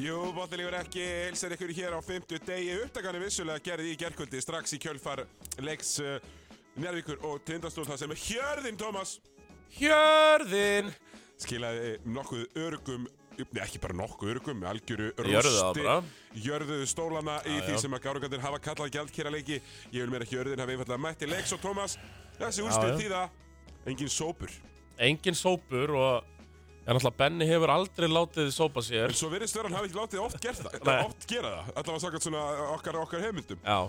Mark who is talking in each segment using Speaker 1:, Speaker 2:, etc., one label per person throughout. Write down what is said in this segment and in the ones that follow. Speaker 1: Jú, bóttilífur ekki, hilsar ykkur hér á 50 degi. Upptakan er vissulega gerði í gerkvöldi strax í kjölfar leiks uh, Njárvíkur og Tindastól þar sem Hjörðin Tómas
Speaker 2: Hjörðin
Speaker 1: skilaði nokkuð örgum Nei, ekki bara nokkuð örgum, algjöru
Speaker 2: Jörðu það
Speaker 1: rústi,
Speaker 2: bara.
Speaker 1: jörðuðu stólana í
Speaker 2: Já,
Speaker 1: því
Speaker 2: já.
Speaker 1: sem að gárugandir hafa kallað gjaldkera leiki. Ég vil meira að jörðin hafi einfallega mætt í leiks og Tómas, þessi úrstil
Speaker 2: já.
Speaker 1: þýða, engin sópur.
Speaker 2: engin sópur og en alltaf Benny hefur aldrei látið sópa sér
Speaker 1: En svo virðist vera hann hafi ekki látið oft gert það,
Speaker 2: Nei.
Speaker 1: oft gera það, allavega sagt svona okkar, okkar heimundum,
Speaker 2: Já,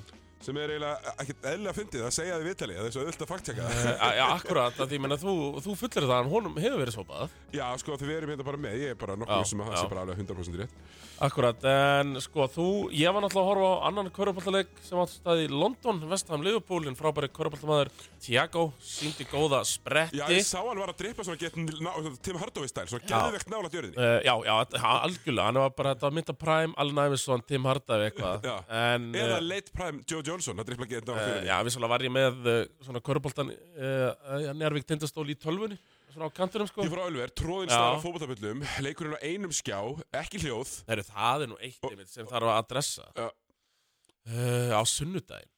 Speaker 1: sem er eiginlega eh, ekkert eðlilega fyndið að segja þið vitali, það er svo auðvitað fakttjaka það.
Speaker 2: a- já akkurat að því menna þú, þú fullir það en honum hefur verið sópað
Speaker 1: Já, sko, þið verum hérna bara með, ég er bara nokkuð
Speaker 2: Já,
Speaker 1: sem að það sé
Speaker 2: já.
Speaker 1: bara alveg 100% rétt.
Speaker 2: Akkurat, en sko þú, ég var náttúrulega að horfa á annan körupallaleik sem átt stað í London, Vestham, Liverpool en frábæri körupallamæður Thiago síndi góða spretti
Speaker 1: Já, ég sá hann var að drippa svona gett ná- Tim Hardaway stæl, svona geðvegt nálat jörðinni.
Speaker 2: Uh, já, já, þetta- ha- algjörlega, hann var bara, þetta var mynda Prime, Allen Iverson, Tim Hardav eitthvað
Speaker 1: Já.
Speaker 2: en,
Speaker 1: Eða
Speaker 2: uh,
Speaker 1: late prime Joe Johnson, að drippa gett nálat
Speaker 2: uh,
Speaker 1: jörðinni.
Speaker 2: já, vissulega var ég með uh, svona körupoltan uh, Njárvík tindastól í tölvunni, svona á kanturum sko
Speaker 1: Ég fór á Ölver, tróðinn
Speaker 2: Já.
Speaker 1: staðar á fótbolltabullum, leikurinn á einum skjá, ekki hljóð.
Speaker 2: Herru, það er nú eitt
Speaker 1: Og-
Speaker 2: einmitt sem þarf að adressa
Speaker 1: Já.
Speaker 2: uh, Á sunnudaginn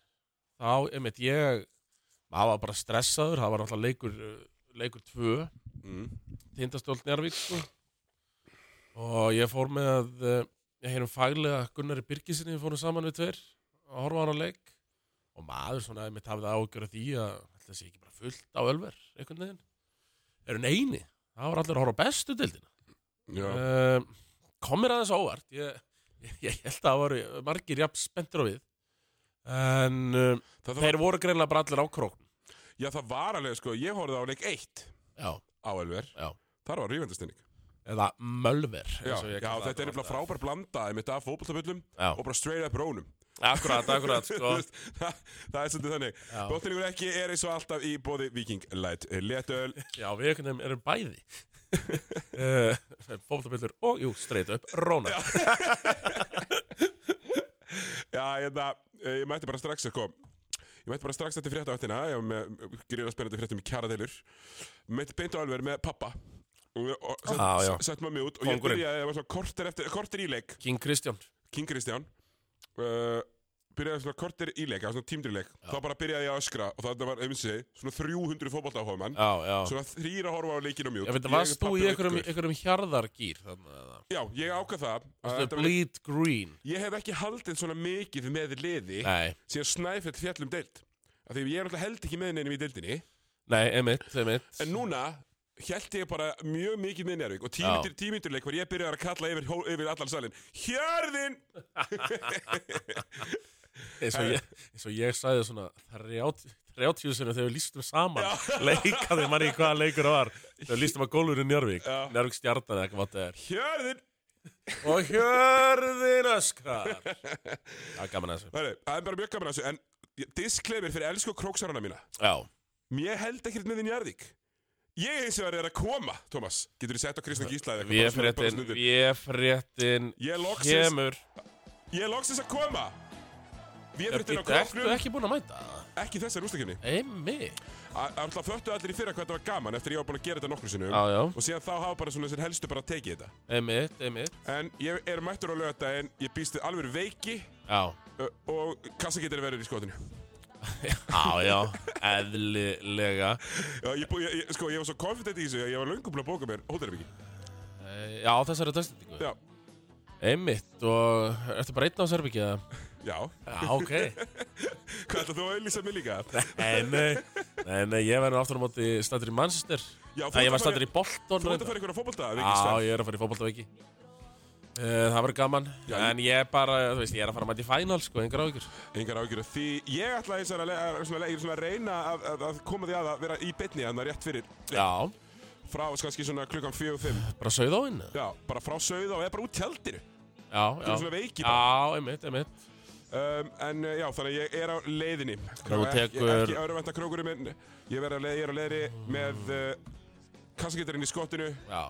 Speaker 2: Þá, einmitt, ég Það var bara stressaður, það var náttúrulega leikur uh, Leikur tvö,
Speaker 1: Mm.
Speaker 2: tindastólt Njarvík sko. Og ég fór með uh, Ég heyrum faglega Gunnari Birgisinni Við fórum saman við tveir að horfa á hann á leik Og maður svona, einmitt, hafði ágjörð því að Það sé ekki bara fullt á ölver Einhvern veginn Eru neini, það var allir að horfa á bestu dildina
Speaker 1: Já.
Speaker 2: um, kom mér aðeins á óvart ég, ég, ég held að það voru margir jafn spenntir á við en um,
Speaker 1: Það, það,
Speaker 2: þeir voru greinlega bara allir á krókn
Speaker 1: var, já, það var alveg, sko, ég horfði á leik 1
Speaker 2: já,
Speaker 1: á Ölver,
Speaker 2: já
Speaker 1: þar var rífandastinning.
Speaker 2: eða mölver
Speaker 1: Já, já þetta er nefnilega frábær blanda einmitt af fótbolltabullum og
Speaker 2: já,
Speaker 1: bara straight up rónum
Speaker 2: akkurat, akkurat sko.
Speaker 1: Þú veist, það, það er svolítið þannig
Speaker 2: Já.
Speaker 1: Bóttinningur ekki er eins og alltaf í bóði Viking Light Letöl
Speaker 2: já, við einhvern veginn erum bæði uh, fólktabillur og, jú, streit upp Rónar,
Speaker 1: Já, hérna, eh, ég mætti bara strax sko. Ég mætti bara strax eftir fréttavættina Ég var með gríðan spennandi fréttum í kjaradeilur Mætti beint á alveg með pappa Og, og sett,
Speaker 2: Ah, Já, já.
Speaker 1: sett mammi út Og ég
Speaker 2: Kóngurinn.
Speaker 1: byrjaði, ég var svona korter, eftir, korter í leik
Speaker 2: King Kristján
Speaker 1: King Kristján uh, Byrjaði svona korter í leik, það var svona tímdri leik Þá bara byrjaði ég að öskra Og það var, um sig, svona 300 fótbolta áhugamann
Speaker 2: já, já,
Speaker 1: Svona þrýra horfa á leikinu mjút
Speaker 2: ég veit að varst þú í einhverjum, einhverjum hjarðargýr þannig að
Speaker 1: Já, ég ákvað það að
Speaker 2: það
Speaker 1: þetta var-
Speaker 2: bleed green
Speaker 1: Ég hef ekki haldið svona mikið með liði
Speaker 2: nei,
Speaker 1: síðan Snæfell fjallum deild af því ég er alltaf held ekki með neinum í deildinni
Speaker 2: nei, emitt, emitt
Speaker 1: en núna held ég bara mjög mikið með Njárvík og
Speaker 2: Já.
Speaker 1: tímyndur tímyndur leik var ég byrjaði að kalla yfir, hó- yfir allan salin Hjörðin!
Speaker 2: eins og ég, eins og ég sagði svona 30 30 sinni þegar við lístum saman leikaði manni í hvaða leikur það var þegar við lístum að gólfurinn Njárvík
Speaker 1: Já.
Speaker 2: Njárvík stjarnan eða hvað það er
Speaker 1: Hjörðin!
Speaker 2: og hjörðin öskrar það er gaman að þessu
Speaker 1: Það er það er bara mjög gaman að þessu en ég- disclaimer fyrir elsku króksarana mína
Speaker 2: já,
Speaker 1: mér held ekkert með þinn Njárvík ég hins vegar er að koma, Tómas getur þið sett á Kristján Gísla eða eitthvað, bara svona- bara
Speaker 2: véfréttin
Speaker 1: svona undir.
Speaker 2: véfréttin
Speaker 1: Ég loksins-
Speaker 2: kemur
Speaker 1: ég er loksins að koma við erum
Speaker 2: Ertu
Speaker 1: þetta á
Speaker 2: ertu
Speaker 1: króknum
Speaker 2: ekki búin að mæta?
Speaker 1: ekki þessar ústakefni
Speaker 2: Einmi
Speaker 1: alltaf föttu allir í fyrra hvað þetta var gaman eftir að ég var búin að gera þetta nokkur sinnum
Speaker 2: Já, já,
Speaker 1: og síðan þá hafa bara svona þessir helstu bara tekið þetta
Speaker 2: einmitt, einmitt
Speaker 1: en ég er mættur á lögata en ég býst við alveg veiki
Speaker 2: Já,
Speaker 1: ö, og kassa getur verið í skotinu
Speaker 2: já, já, eðlilega
Speaker 1: Já, ég, bú- ég, ég, sko, ég var svo confident í þessu að ég var löngum búin að bóka mér hótelherbyggi
Speaker 2: Eh, Já, þessari dagstendingu
Speaker 1: já,
Speaker 2: Einmitt, og ertu bara einn á Sörbyggja?
Speaker 1: já,
Speaker 2: Já, ok
Speaker 1: hvað ætla þú að auðlýsa mig líka
Speaker 2: Nei, nei, nei, nei, ég verður aftur á móti stættur í Manchester
Speaker 1: Já, þú
Speaker 2: Nei,
Speaker 1: ert að
Speaker 2: ég
Speaker 1: fara í-
Speaker 2: var stættur í
Speaker 1: þú ert
Speaker 2: Bolton
Speaker 1: að
Speaker 2: reyndar.
Speaker 1: fara ykkur að fótbolta
Speaker 2: Já, ég er að fara í fótboltaviki uh, Það verður gaman
Speaker 1: Já, ég-
Speaker 2: En ég bara, þú veist, ég er að fara að mæta í final, sko, engar áhyggjur
Speaker 1: engar ágjur því ég ætla eins og að, le- að, svona, le- svona, reyna að, að, að koma því að að vera í bytni þannig rétt fyrir
Speaker 2: Já,
Speaker 1: frá kannski svona klukkan 4-5
Speaker 2: bara sauð á inn
Speaker 1: já, bara frá sauða og eða bara út tjaldinu
Speaker 2: Já,
Speaker 1: þú er
Speaker 2: já
Speaker 1: svona veiki bara.
Speaker 2: Já, einmitt, einmitt
Speaker 1: Um, en eh, já, þannig að ég er á leiðinni
Speaker 2: Krókur
Speaker 1: Ekki,
Speaker 2: tekur-
Speaker 1: ekki öruvænta krókurinn minn Ég, verð á leið, ég er á leiðinni með uh, Kassagitarinn í skottinu
Speaker 2: Já,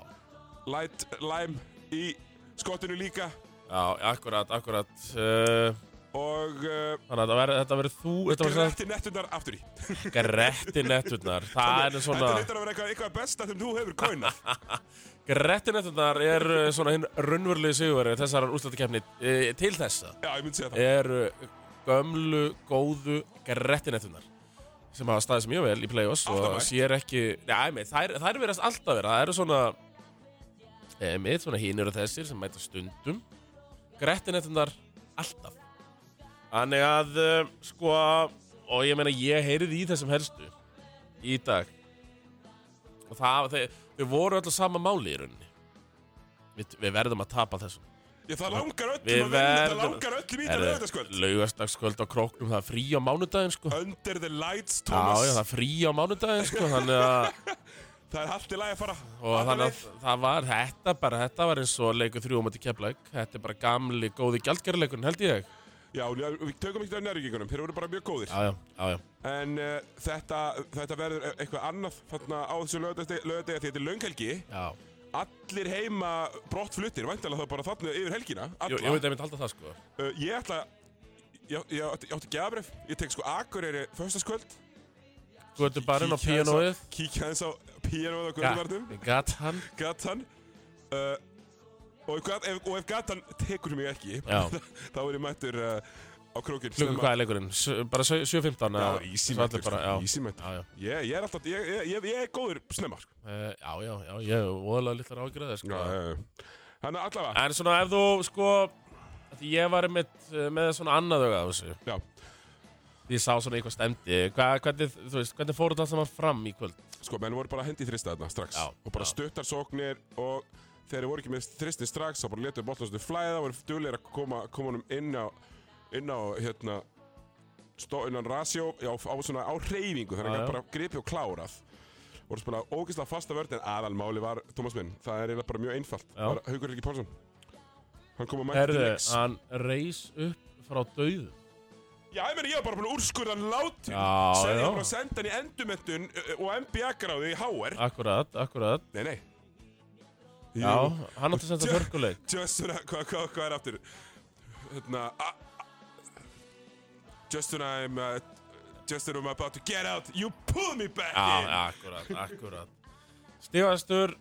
Speaker 1: Light lime í skottinu líka
Speaker 2: já, akkurat, akkurat uh,
Speaker 1: og uh,
Speaker 2: Þannig að þetta verður- þetta verður þú, þetta verður
Speaker 1: gretti nettundar aftur í.
Speaker 2: svona gretti netturnar. Það er
Speaker 1: Þetta
Speaker 2: svona,
Speaker 1: hittar að vera eitthvað, eitthvað besta sem þú hefur kóinað.
Speaker 2: gretti netturnar er uh, svona hinn raunverulegi sigurverið þessar úrslættakefni uh, til þessa.
Speaker 1: Já, ég myndi segja það.
Speaker 2: eru gömlu, góðu grettinettunar sem hafa staðið sem mjög vel í play-offs og
Speaker 1: Alltaf mætt.
Speaker 2: sér ekki, já, með, þær, þær verðast alltaf vera, það eru svona með, svona hínur og þessir sem mæta stundum grettinettunar alltaf þannig að, eh, sko og ég meina, ég heyrið í þessum helstu í dag og það, þau, þau voru öll á sama máli í rauninni við, við verðum að tapa þessum
Speaker 1: Ég, það langar
Speaker 2: Við
Speaker 1: öllum að vinna, það
Speaker 2: verðum-
Speaker 1: langar öllum í þetta lögðaskvöld.
Speaker 2: Laugastagskvöld á króknum, það er frí á mánudaginn sko
Speaker 1: Under the lights,
Speaker 2: Já, já, það
Speaker 1: Thomas.
Speaker 2: er frí á mánudaginn sko Þannig að,
Speaker 1: Það er allt í lagi að fara.
Speaker 2: og
Speaker 1: Alla
Speaker 2: þannig
Speaker 1: leið.
Speaker 2: að það var þetta bara, þetta var eins og leikur þrjú á móti keflæk Þetta er bara gamli, góði gjaldgerðleikurinn held ég
Speaker 1: Já, og við tökum ekki af nærvíkingunum, þeir voru bara mjög góðir.
Speaker 2: Já, já, já, já
Speaker 1: En uh, þetta, þetta verður e- eitthvað annað þarna á þessu lögadegi því þetta er lönghelgi.
Speaker 2: Já,
Speaker 1: Allir heima brottfluttir, væntalega þá bara þarna yfir helgina.
Speaker 2: ég, ég
Speaker 1: Alla.
Speaker 2: veit að ég myndi halda það sko
Speaker 1: Uh, ég ætla, ég, ég, átti- ég átti gjabref, ég tek sko Akureyri föstaskvöld.
Speaker 2: Guður barinn á
Speaker 1: Kíkja aðeins á-
Speaker 2: píanóið
Speaker 1: Kíkja hans á píanóið á Guðvarnum.
Speaker 2: Gat- Gat hann
Speaker 1: Gatan uh, og, ef, gat- ef, og ef Gatan tekur mig ekki
Speaker 2: Já.
Speaker 1: þá er ég mættur uh, á krókinn
Speaker 2: Klukku hvað er leikurinn? S- Bara sjö- 7.15
Speaker 1: Já,
Speaker 2: eða-
Speaker 1: easy
Speaker 2: svo
Speaker 1: mættur,
Speaker 2: allir bara- Já,
Speaker 1: easy mættur.
Speaker 2: já, já
Speaker 1: Ég, ég er alltaf, ég, ég, ég, ég er góður snemma sko.
Speaker 2: Eh, Já, já, já, ég er voðalega litlar ágjörðið sko
Speaker 1: Þannig að allavega
Speaker 2: En svona ef þú sko af Því ég var með, með svona annað auga á þessu
Speaker 1: Já.
Speaker 2: Því ég sá svona eitthvað stemdi Hva, hvernig, þú veist, hvernig fór þetta allt saman fram í kvöld?
Speaker 1: Sko, menn voru bara að hendi í þrista þarna strax
Speaker 2: Já,
Speaker 1: og bara
Speaker 2: já.
Speaker 1: stuttar sóknir og þegar þeir voru ekki með þristin strax þá bara letuðu bóttlastu flæða voru duglegir að koma, koma honum inn á inn á hérna stó, innan rasjó á, á svona á reyfingu þannig að
Speaker 2: Já,
Speaker 1: hann
Speaker 2: já.
Speaker 1: gat bara gripi og klárað voru spila ógeðslega fasta vörð en aðalmáli var Thomas minn það er eiginlega bara mjög einfalt
Speaker 2: Já.
Speaker 1: bara Haukur Helgi Pálsson hann kom að mæta til
Speaker 2: Herðu,
Speaker 1: leiks
Speaker 2: hann reis upp frá dauðu
Speaker 1: Já, ég meina, ég var bara búin að úrskurða hann látin
Speaker 2: Já,
Speaker 1: Segði
Speaker 2: já.
Speaker 1: ég bara að senda hann í endumöntun og MBA-gráði í HR
Speaker 2: Akkurat, akkurat
Speaker 1: Nei, nei
Speaker 2: Já, hann átti sem þetta förkuleik
Speaker 1: Justuna, hvað hva, hva er aftur? Hérna a- a- Justuna, I'm uh, Justuna, I'm about to get out You pull me back in
Speaker 2: Já, akkurat, akkurat Stígastur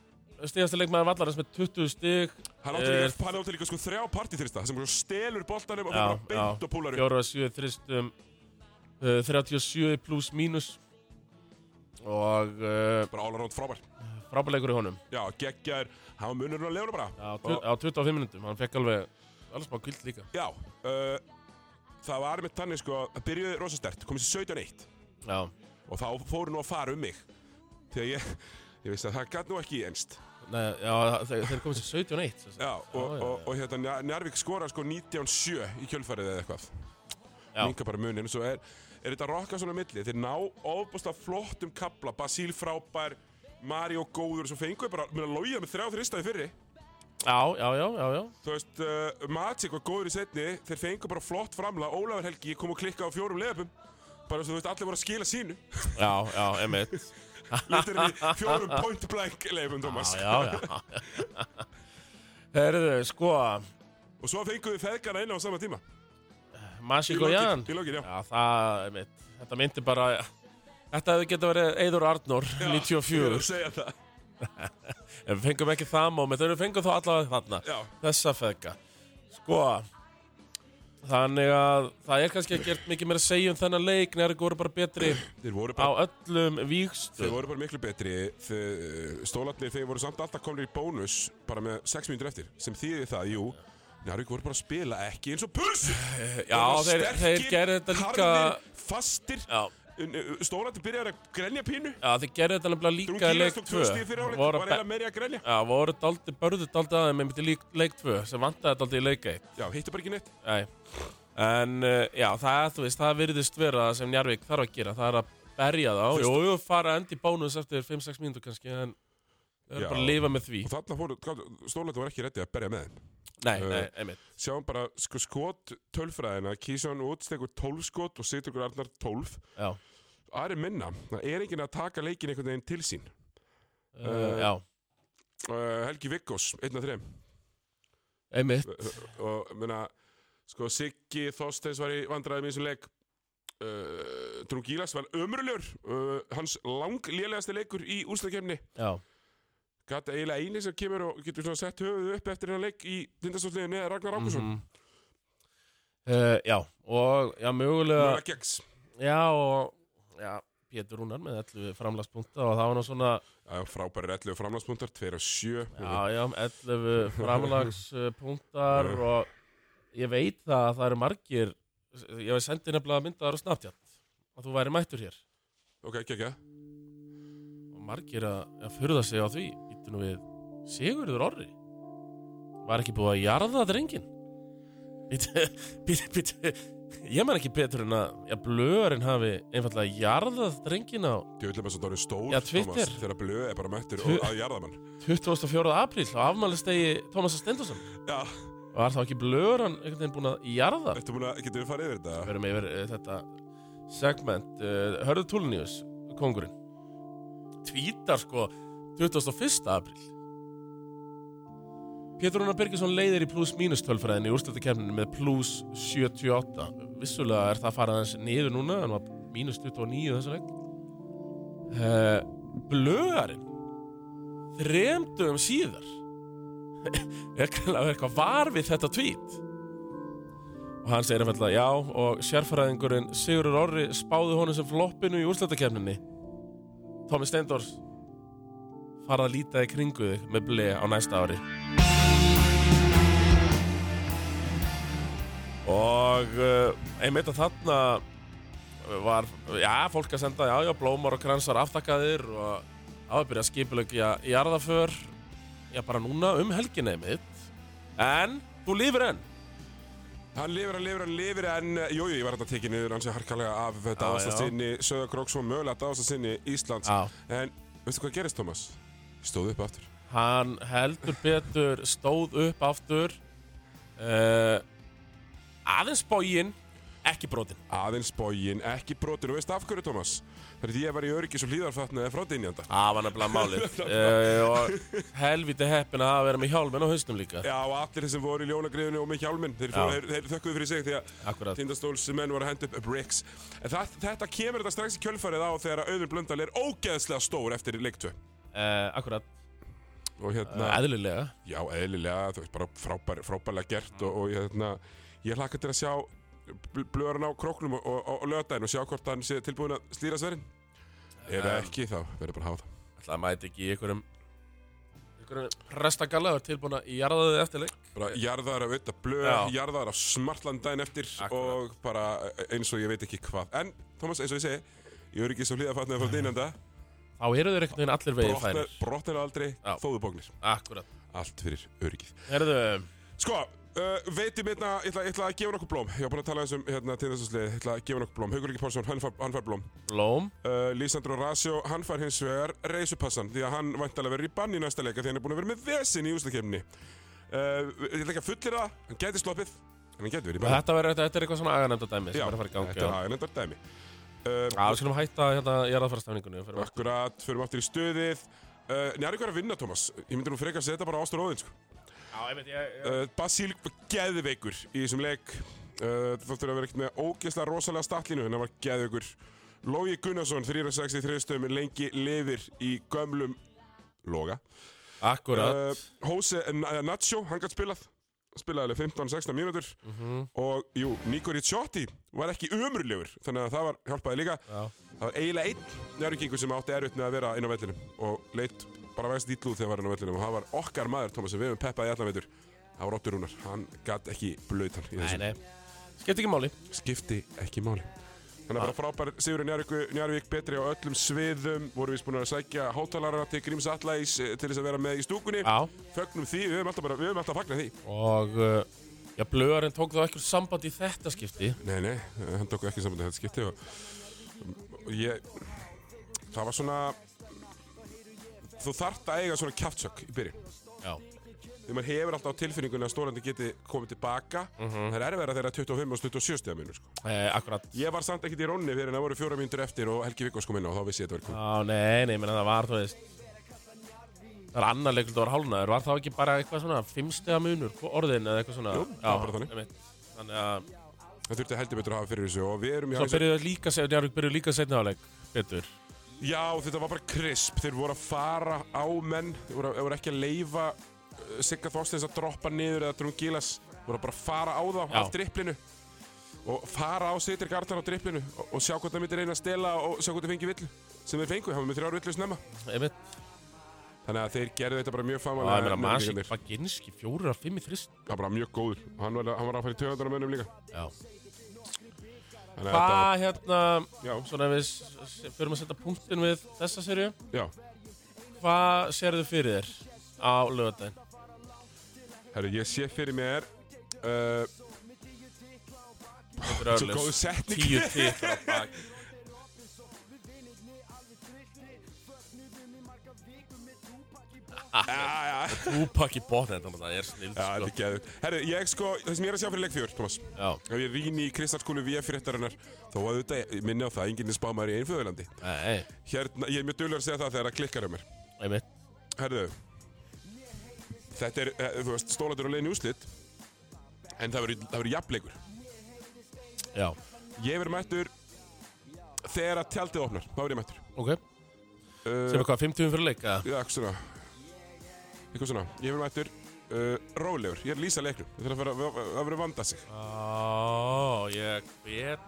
Speaker 2: Stígastur leikmaður vallarins með 20 stig Eh,
Speaker 1: Hann átti líka, hann átti líka sko þrjá partityrsta sem sko stelur boltanum og það bara beint og púlar upp
Speaker 2: Fjóra, sjö, þristum uh, 37 pluss mínus Og uh,
Speaker 1: Bara all around frábær
Speaker 2: frábæleikur í honum
Speaker 1: Já, geggjar, hann munur að lefna bara
Speaker 2: Já,
Speaker 1: Og-
Speaker 2: tut- á 25 minnundum, hann fekk alveg alveg smá kvilt líka
Speaker 1: Já, uh, það var með tannig sko að byrjuði rosa stert, komið sér 17-1
Speaker 2: Já,
Speaker 1: og þá fóru nú að fara um mig þegar ég, ég veist að það gæti nú ekki einst
Speaker 2: Nei, já þeir, þeir komið sér 17 eitt
Speaker 1: Já, og, og, og hérna Njar- Njarvík skora sko 19-7 í kjölfarið eða eitthvað
Speaker 2: Já.
Speaker 1: Minka bara munin, svo er, er þetta rokka svona á milli þeir ná ofbúslega flottum kapla Basíl frábær, Mario góður svo fengu ég bara, mér að logja með þrjá þristaði fyrri
Speaker 2: Já, já, já, já, já
Speaker 1: Þú veist, uh, Magic var góður í setni þeir fengu bara flott framla, Ólafur Helgi kom og klikka á fjórum leiðabum bara svo þú veist, allir voru að skila sínu
Speaker 2: Já, já, emitt
Speaker 1: Lítur í fjórum point blank leiðabum, Thomas
Speaker 2: Já, já, já Herðu, sko
Speaker 1: og svo fengu við feðgana inn á sama tíma Í
Speaker 2: Masíko Jan
Speaker 1: lokin, í lokin, já
Speaker 2: Já, það, emitt Þetta myndi bara Þetta hefði getið verið Eður Arnór,
Speaker 1: Ég er að
Speaker 2: 94
Speaker 1: segja það,
Speaker 2: En við fengum ekki það moment En við fengum þá allavega þarna
Speaker 1: já
Speaker 2: Þessa feðka Sko Þannig að það er kannski ekki gert mikið meira að segja um þennan leik Nærið voru bara betri
Speaker 1: Þeir voru
Speaker 2: á
Speaker 1: bara,
Speaker 2: öllum
Speaker 1: þeir
Speaker 2: vígstöð
Speaker 1: voru bara miklu betri Þe- Stólarnir þeir voru samt alltaf komnir í bónus bara með 6 mínútur eftir sem þýði það, jú Njarvík voru bara að spila ekki eins og puls
Speaker 2: Já, þeir, þeir gerðu þetta líka
Speaker 1: fastir
Speaker 2: Já,
Speaker 1: Stólarnir byrjaði að grenja pínu
Speaker 2: já þeir gerðu þetta nefnilega
Speaker 1: Drún
Speaker 2: líka í
Speaker 1: Gílas
Speaker 2: leik
Speaker 1: tók
Speaker 2: 2
Speaker 1: tvö stíð fyrir áleik
Speaker 2: voru,
Speaker 1: var
Speaker 2: be-
Speaker 1: eiginlega meiri að grenja
Speaker 2: já, voru daldi, börðu daldi aðeins með myndi lík, leik 2 sem vantaði daldi í leik 1
Speaker 1: Já, hittu bara ekki neitt
Speaker 2: Æ. En uh, já, það, þú veist, það virðist vera það sem Njarvík þarf að gera, það er að berja þá
Speaker 1: Fyrst-
Speaker 2: Jú, jú, fara endi bónus eftir 5-6 mínútur kannski en það er
Speaker 1: Já.
Speaker 2: bara að lifa með því
Speaker 1: Og þarna fóru, Stólarnir voru ekki rétti að berja með þeim
Speaker 2: Nei,
Speaker 1: Eh,
Speaker 2: nei, einmitt
Speaker 1: Sjáum bara sko, skot tölfræðina Kísjón útstekur 12 skot og Sigtryggur Arnar 12
Speaker 2: Já,
Speaker 1: Ari minna, það er enginn að taka leikin einhvern veginn til sín
Speaker 2: uh, já,
Speaker 1: uh, Helgi Vikkos, einn af þreim
Speaker 2: eh, einmitt
Speaker 1: og meina, Sko, Siggi Þorsteins var í vandræðum í þessum leik. Uh, Trú Gílas var ömrulur. Uh, hans langlélagasti leikur í úrslakefni.
Speaker 2: Já,
Speaker 1: Gata eiginlega eini sem kemur og getur svona sett höfuð upp eftir hennar leik í tindastóðsliðinni eða Ragnar Ákusson. Mm
Speaker 2: Mhm. Eh, já, og já, mögulega
Speaker 1: -hmm. Gegns.
Speaker 2: Já, og já, Pétur Rúnar með 11 framlagspunkta og það var nú svona,
Speaker 1: Já, frábæri 11 framlagspunktar, 2 og 7.
Speaker 2: já, já, 11 framlagspunktar og ég veit það að það eru margir, ég hef sendið nefnilega myndaðar og snabtjátt að þú væri mættur hér
Speaker 1: Ok, gegja.
Speaker 2: og margir að, að furða sig á því, býttu nú við Sigurður Orri, var ekki búið að jarða drengin? Býttu, býttu, býttu, ég man ekki betur en að, já, blöðurinn hafi einfallega jarðað drengin á
Speaker 1: Djöfullum er svo dórið stór,
Speaker 2: Já, Twitter.
Speaker 1: Thomas, þegar blöð er bara mættur
Speaker 2: Tu-
Speaker 1: og- að jarðamann.
Speaker 2: 24. apríl á afmælistegi Tómasa Stendursson
Speaker 1: Já,
Speaker 2: Var þá ekki blöður hann einhvern veginn búin að jarða?
Speaker 1: ertu búin að, getur við farið yfir þetta?
Speaker 2: Verum yfir eh, þetta segment uh, Hörðu Tulnius, kongurinn Tvítar sko 21. apríl Pétur Rúnar Birgisson leiðir í pluss mínus tölfræðinni í úrslutakefninu með pluss 78 Vissulega er það farið aðeins niður núna en var mínus 29 þessu leik uh, Blöðarinn Þremdugum síðar er kannlega eitthvað var við þetta tvít og hann segir einfallega já og sérfræðingurinn Sigurður Orri spáði honum sem floppinu í úrslættakefninni Tómi Steindors farað að líta í kringu þig með ble á næsta ári og uh, einmitt að þarna var, já, fólk að senda já, já, blómar og kransar aftakkaðir og það var að byrja að skipulegja jarðaför já, bara núna um helginni mitt en þú lifir enn
Speaker 1: Hann lifir, hann lifir, hann lifir en eh, jú, jú, ég var þetta tekið niður hans harkalega af dáðastastinni Söðakróks og mögulega dáðastastinni Íslands
Speaker 2: Já.
Speaker 1: En veistu hvað gerist, Thomas? Ég stóð upp aftur
Speaker 2: Hann heldur betur stóð upp aftur uh, aðeins bógin ekki brotinn
Speaker 1: Aðeins bógin, ekki brotin og veist af hverju, Thomas? Það er því ég var í öryggis og hlýðarfatnaði frá dynjanda
Speaker 2: Það var nefnilega málið uh, og helviti heppin að vera með hjálminn á hausnum líka
Speaker 1: Já, og allir þeir sem voru í ljónagriðinu og með hjálminn Þeir,
Speaker 2: Já.
Speaker 1: fóru- þeir, þeir þökkuðu fyrir sig því að
Speaker 2: Akkurat
Speaker 1: Tindastóls menn voru að henda upp bricks En það, þetta kemur þetta strax í kjölfarið á þegar Auður Blöndal er ógeðslega stór eftir leiktu
Speaker 2: uh, Akkurat
Speaker 1: Og hérna
Speaker 2: Ah. Æðlilega
Speaker 1: Já, eðlilega, þú veist, bara frábær, frábærlega gert og, og ég, hérna, ég hlakka til að sjá bl- blöðurinn á króknum og, og, og löðdæn og sjá hvort hann sé tilbúin að slíra sverinn. Ef
Speaker 2: Já.
Speaker 1: ekki, þá verður bara að hafa það.
Speaker 2: Það mæti ekki í einhverjum einhverjum prestagalla og tilbúin að jarða þið eftir leik
Speaker 1: Bara jarðaðar af auðvitað blöð,
Speaker 2: Já.
Speaker 1: jarðaðar af smartland dæn eftir
Speaker 2: Akkúrat.
Speaker 1: og bara eh, eins og ég veit ekki hvað. En, Thomas, eins og ég segi, ég er ekki svo hlýðafatnaði frá dýnanda,
Speaker 2: Þá eru þeir einhvern veginn allir vegið færir
Speaker 1: brotnar aldrei,
Speaker 2: Já.
Speaker 1: þóðubóknir.
Speaker 2: Akkurat
Speaker 1: Allt fyrir öryggið.
Speaker 2: Herðu
Speaker 1: Sko, uh, veitum hérna, ég ætla, ég ætla að gefa nokkuð blóm. Ég var búin að tala þessum hérna, tindastáðsliðið, ég ætla að gefa nokkuð blóm. Haukur Líki Pálsson, hann fær, hann fær blóm.
Speaker 2: Blóm
Speaker 1: Uh, Lísandro Rasjó, hann fær hins vegar reysupassan því að hann væntalega verður í bann í næsta leika því hann er búin að vera með vesin í úslakefni uh, Ég ætla ekki að fullir það, hann gæti sloppið en hann gæti verið í bann
Speaker 2: Þetta, verður- þetta er eitthvað svona aganefndadæmi sem er að fara í gangi
Speaker 1: þetta er aðeinendar dæmi uh,
Speaker 2: Já, við skulum hætta hérna jarðarfarastafningunni fyrir okkur.
Speaker 1: Akkurat, förum aftur í stöðið uh, Njá er eitthvað að vinna, Thomas Ég myndi nú frekar að setja bara ástur óðinn sko.
Speaker 2: Já, ég veit, ég...
Speaker 1: uh, Basíl var geðveikur í þessum leik uh, þóttur að vera ekkert með ógeðslega rosalega statlínu en hann var geðveikur Lógi Gunnarsson, 363 stöðum lengi lifir í gömlum loga
Speaker 2: Akkurat.
Speaker 1: Uh, Jose uh, Nacho, hann gætt spilað spilaði alveg 15-16 mínútur
Speaker 2: Mhm.
Speaker 1: og jú, Nico Ricciotti var ekki umrullegur, þannig að það var hjálpaði líka
Speaker 2: Já.
Speaker 1: það var eiginlega einn njörgingu sem átti erfitt með að vera inn á vellinum og leitt bara vægst ítluð þegar hann var inn á vellinum og það var okkar maður, Thomas, sem við hefum peppað í allan veitur það var Rottur Rúnar, hann gætt ekki blöytan í þessu,
Speaker 2: nei, nei. Skipt ekki máli.
Speaker 1: skipti ekki máli Þannig að bara frábær Sigurður Njarvík, Njarvík betri á öllum sviðum, voru við búin að sækja hátalarana til Gríms Atlæs eh, til þess að vera með í stúkunni
Speaker 2: Já.
Speaker 1: fögnum því, við höfum alltaf bara, við höfum alltaf að fagna því
Speaker 2: Og, uh, já, blöðarinn tók þá ekkert samband í þetta skipti.
Speaker 1: Nei, nei, hann tók ekki saman til þetta skipti og, og ég það var svona þú þarft að eiga svona kjaftsök í byrjun
Speaker 2: Já.
Speaker 1: því maður hefur alltaf á tilfinningunni að stórandi geti komið tilbaka það er erfæra þegar 25 og 27 stíða mínur sko.
Speaker 2: Eh, akkurat.
Speaker 1: ég var samt ekkit í rónni fyrir en það voru fjóra mínútur eftir og Helgi Vikkos kom inn á og þá vissi ég að þetta verið
Speaker 2: Já, nei, nei, menn það var, þú veist... Það var annar leikult að vera hálnaður. Var það ekki bara eitthvað svona fimmstega munur, orðin eða eitthvað svona?
Speaker 1: Jú, það var bara þannig.
Speaker 2: einmitt. Þannig Þannig að
Speaker 1: Það þurfti heldur betur að hafa fyrir þessu og við erum í
Speaker 2: svo byrjuðu þeir líka, se- Njarðvík byrjuðu líka setna áleik betur.
Speaker 1: Já, þetta var bara krisp. Þeir voru að fara á menn, þeir voru, þeir voru ekki að leifa Sigga Þorsteins að droppa niður eða Drungilas. Þeir voru bara að fara á þá
Speaker 2: Já.
Speaker 1: af dripplinu og fara á Sittir Gardar á dripplinu og, og sjá hvort það myndir reyna að stela og sjá hvort það fengi villu sem þeir fengu, hafa með þrjár villu snemma.
Speaker 2: Einmitt.
Speaker 1: Þannig að þeir gerðu þetta bara mjög
Speaker 2: Og það er
Speaker 1: famalega.
Speaker 2: meira Masík Baginski, fjórir af fimm í þrist.
Speaker 1: Það var bara mjög góður. Hann var, hann var að fara í töðandana mönnum líka.
Speaker 2: Já.
Speaker 1: Þannig að þetta
Speaker 2: Hvað hérna,
Speaker 1: var-
Speaker 2: svona ef við s- s- förum að setja punktin við þessa serju,
Speaker 1: Já, já.
Speaker 2: hvað serðu fyrir þér á lögadaginn?
Speaker 1: Herru, ég sé fyrir mér uh,
Speaker 2: Þetta er
Speaker 1: Svo
Speaker 2: örlust.
Speaker 1: góð setning
Speaker 2: Tíu titlar á bak.
Speaker 1: Já, já,
Speaker 2: Tupac í botni, þetta náttúrulega er snill,
Speaker 1: Já, þetta
Speaker 2: sko.
Speaker 1: er geðið. Herru, ég sko, það sem ég er að sjá fyrir leik fjör, Thomas.
Speaker 2: Já,
Speaker 1: Ef ég rýni í kristalskúlu VF-réttarinnar, þá var auðvitað minni á það, enginn er spámaður í einfjöðurlandi.
Speaker 2: nei,
Speaker 1: Hérna, ég er mjög dölur að segja það þegar það klikkar um mér.
Speaker 2: einmitt.
Speaker 1: Herðu, þetta er, eh, þú veist, stólandur á leiðin í úslit, en það verður- það verður jafnleikur.
Speaker 2: Já,
Speaker 1: Ég verður mættur þegar að tjaldið opnar, þá verður ég mættur.
Speaker 2: ok. Sem
Speaker 1: Uh,
Speaker 2: er hvað, 50 fyrir
Speaker 1: Já,
Speaker 2: leika?
Speaker 1: eitthvað svona, eitthvað svona, ég verður mættur uh, rólegur, ég er að lýsa leiknum, það verður að vanda sig.
Speaker 2: Ó, ég veit.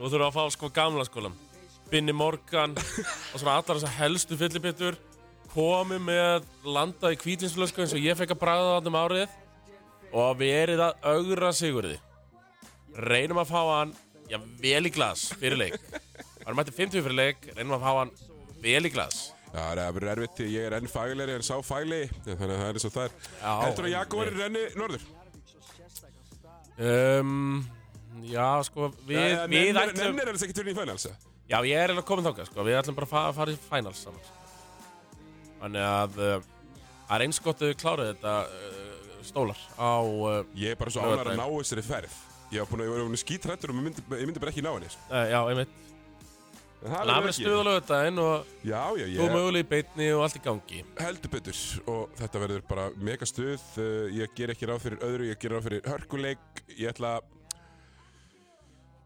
Speaker 2: Nú þurfum við að fá sko gamla skólam. Binni Morgan og svona allar þessar helstu fyllibittur komi með landa í kvítinsflösku eins og ég fekk að bræða það um árið og verið að augra Sigurði. Reynum að fá hann, já, vel í glas fyrir leik. Varum mætti 50 fyrir leik, reynum að fá hann vel í glas.
Speaker 1: Já, það er verið erfitt því ég er enn faglegri en sá faglegi Þannig að það er eins og það er
Speaker 2: Já,
Speaker 1: Heldur að Jakob er renni norður?
Speaker 2: Um, já, sko, við,
Speaker 1: Eða
Speaker 2: við
Speaker 1: nennir-
Speaker 2: ætlum...
Speaker 1: Nennir er þess ekki turni í fænals
Speaker 2: Já, ég er eiginlega komin þáka, sko, við ætlum bara að fa- fara í finals saman. sko. Þannig að uh, það er eins gott að við kláraði þetta uh, stólar á... Uh,
Speaker 1: Ég er bara svo
Speaker 2: Nú er
Speaker 1: ánægður að ná
Speaker 2: það.
Speaker 1: þessari ferð Ég var búin að ég var skítrættur og ég myndi, ég myndi bara ekki ná henni sko.
Speaker 2: uh, já, einmitt.
Speaker 1: En Það
Speaker 2: Þannig að það verður stuð á lögudaginn og
Speaker 1: Já, já,
Speaker 2: þú
Speaker 1: ég
Speaker 2: mögulega í beitni og allt í gangi.
Speaker 1: heldur betur Og þetta verður bara mega stuð Uh, Ég ger ekki ráð fyrir öðru, ég ger ráð fyrir hörkuleik Ég ætla að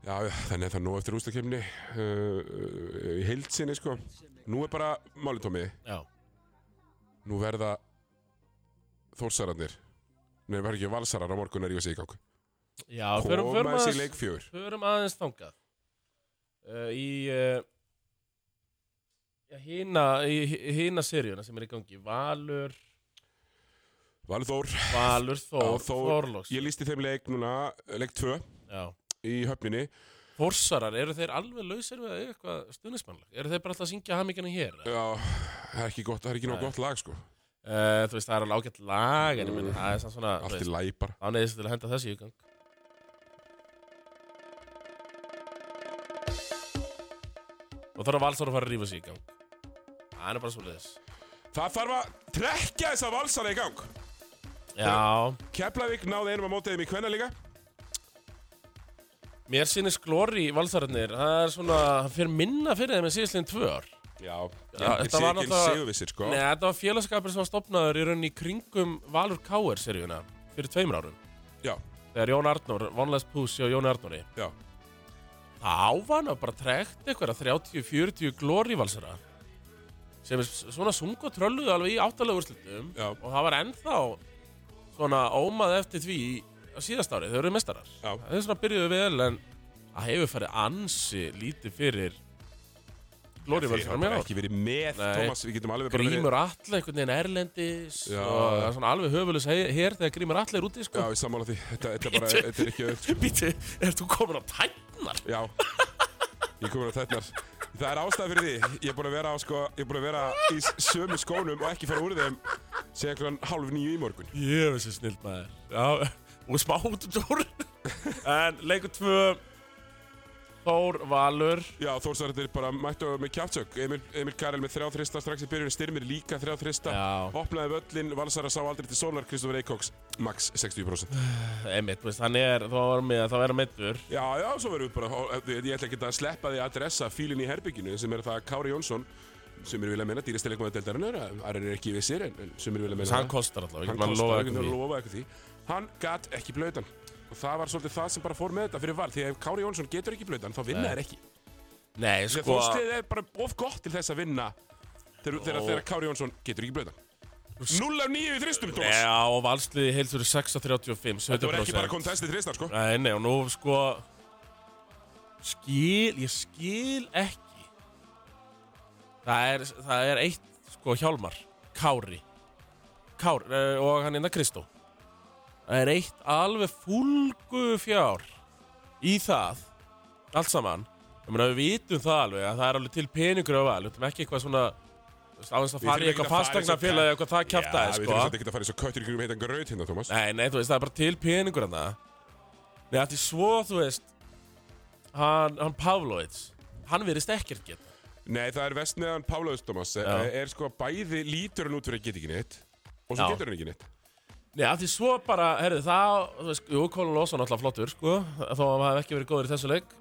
Speaker 1: Já, já, þannig að það er nú eftir ústakefni uh, uh, Í heildsinni, sko Nú er bara málið, Tómi
Speaker 2: Já,
Speaker 1: nú verða þórsararnir Nei, verður ekki valsarar á morgun er ég að segja í gang
Speaker 2: já, förum,
Speaker 1: Koma
Speaker 2: förum,
Speaker 1: þessi í
Speaker 2: aðeins,
Speaker 1: leik fjör
Speaker 2: förum aðeins þangað. Uh, í... Uh, Já, hína, hína seríuna sem er í gangi, Valur,
Speaker 1: Valur Þór,
Speaker 2: Valur, Þór,
Speaker 1: Já, Þór.
Speaker 2: Þorlóks.
Speaker 1: ég lísti þeim leik núna leik 2
Speaker 2: Já.
Speaker 1: í höfninni
Speaker 2: Forsarar, eru þeir alveg lausir við að eiga eitthvað stuðnismannlag? Eru þeir bara alltaf að syngja haminginu hér? Uh,
Speaker 1: Já, það er ekki gott, það er ekki nóg
Speaker 2: Nei.
Speaker 1: gott lag sko
Speaker 2: Eh, þú veist, það er alveg ágætt lag, en ég meina, það er samt svona, þú
Speaker 1: Allt í
Speaker 2: veist,
Speaker 1: læg bara
Speaker 2: þá neyðist til að henda þessu í gang. Og þá er Valsar að fara að rífa sig í gang. Það er bara svo leiðis.
Speaker 1: Það þarf að trekja þessa valsara í gang
Speaker 2: Já,
Speaker 1: Keflavík náði einum að móti þeim í kvenna líka
Speaker 2: mér sýnist glóri í Valsararnir, það er svona, það fyrir minna fyrir þeim en síðastliðin tvö ár.
Speaker 1: Já,
Speaker 2: Já, þetta var náttúrulega-
Speaker 1: Sigurvissir sko
Speaker 2: Nei, þetta var félagskapur sem var stopnaður í rauninni í kringum Valur Káer seríuna fyrir tveimur árum.
Speaker 1: Já,
Speaker 2: þegar Jón Arnór, vonlæst púsi á Jón Arnóri
Speaker 1: já
Speaker 2: þá var hann að bara trekt eitthvað 30-40 glórivalsara sem er s- svona sung og trölluðu alveg í áttalega úrslitum
Speaker 1: Já.
Speaker 2: og það var ennþá svona ómað eftir því á síðast ári, þau eru mestarar
Speaker 1: Já.
Speaker 2: það er svona byrjuðu vel en það hefur farið ansi lítið fyrir
Speaker 1: Þeir hafa bara
Speaker 2: glórivalsara mér ár
Speaker 1: ekki verið með,
Speaker 2: Nei.
Speaker 1: Thomas, við getum alveg bara verið-
Speaker 2: Grímur Atla einhvern veginn erlendis
Speaker 1: Já.
Speaker 2: og það er svona alveg höfulis hér þegar Grímur Atla er úti
Speaker 1: Já,
Speaker 2: sko.
Speaker 1: ég sammála því, þetta, þetta, bara,
Speaker 2: Bíddu.
Speaker 1: þetta er ekki öll
Speaker 2: Býtu, er þú komin á tætnar?
Speaker 1: Já Ég komur á tætnar Það er ástæða fyrir því Ég er búin að vera, á, sko, ég er búin að vera í s- sömu skónum og ekki fara úr þeim segja klokkan hálf nýju í morgun
Speaker 2: Ég hef þessi snild maður Já, og smá út úr tórun En leikur tvö Þór Valur
Speaker 1: Já, Þórsarðir bara mættu með kjátsök Emil, Emil Karel með þrjá þrista strax í byrjun Styrmir líka þrjá þrista
Speaker 2: Já.
Speaker 1: Opnaði völlin, Valsara sá aldrei til sólar Kristofur Eikóks, max 60%
Speaker 2: Einmitt, þú veist, hann er, þá var með, þá er hann meittur
Speaker 1: Já, já, svo verðum við bara Ég ég ætla ekki að sleppa því að adressa fílinn í herbygginu sem er það að Kári Jónsson sem er vilja meina dýrastilegum að deildarinnar Aran er ekki vissir en, en sem er vilja meina
Speaker 2: Þess að hann
Speaker 1: það.
Speaker 2: kostar alltaf, ég
Speaker 1: hann
Speaker 2: get maður að
Speaker 1: kostar ekki
Speaker 2: lofa eitthvað
Speaker 1: að
Speaker 2: því
Speaker 1: lofa eitthvað því hann gat ekki blöðan og það var svolítið það sem bara fór með þetta fyrir val því að ef Kári Jónsson getur ekki blöðan þá vinna
Speaker 2: Nei.
Speaker 1: þær ekki
Speaker 2: Nei,
Speaker 1: Þegar
Speaker 2: sko,
Speaker 1: þóstið er bara of gott til þess að vinna þegar, þegar, þegar Kári Jónsson getur ekki blöðan 0 af 9 í þristum, Thomas
Speaker 2: já, og valsliði heilt fyrir 6.35
Speaker 1: Þetta var ekki
Speaker 2: 70%.
Speaker 1: bara kontestið þristar, sko
Speaker 2: Nei, nei, og nú sko Skil, ég skil ekki Það er, það er eitt sko hjálmar Kári Kári eh, og hann innan Kristó Það er eitt alveg fúlgu fjár Í það Allt saman Ég meina við vitum það alveg að það er alveg til peningur á val Við vitum ekki eitthvað svona þú veist, Aðeins að
Speaker 1: Við
Speaker 2: fara í
Speaker 1: þurfum
Speaker 2: eitthvað
Speaker 1: ekki að fara í
Speaker 2: fastegna
Speaker 1: þessa-
Speaker 2: félagi Eitthvað það kjæfta
Speaker 1: Já,
Speaker 2: sko.
Speaker 1: við þurfum svolítið ekki að fara í svo köttur í kringum heitan gröð hérna, Thomas
Speaker 2: Nei, nei, þú veist, það er bara til peningur hann Nei, allt í svo, þú veist Hann, hann Pavlovits Hann verist ekkert geta
Speaker 1: Nei, það er vestneðan Pálaus, Thomas
Speaker 2: Já.
Speaker 1: er, er sko bæði lítur hann út fyrir að geta ekki neitt og svo
Speaker 2: Já.
Speaker 1: getur hann ekki neitt
Speaker 2: Nei, allt í svo bara, herrðu, það Þú veist, jú, Colin Lawson alltaf flottur, sko Þó að hann hafði ekki verið góður í þessu leik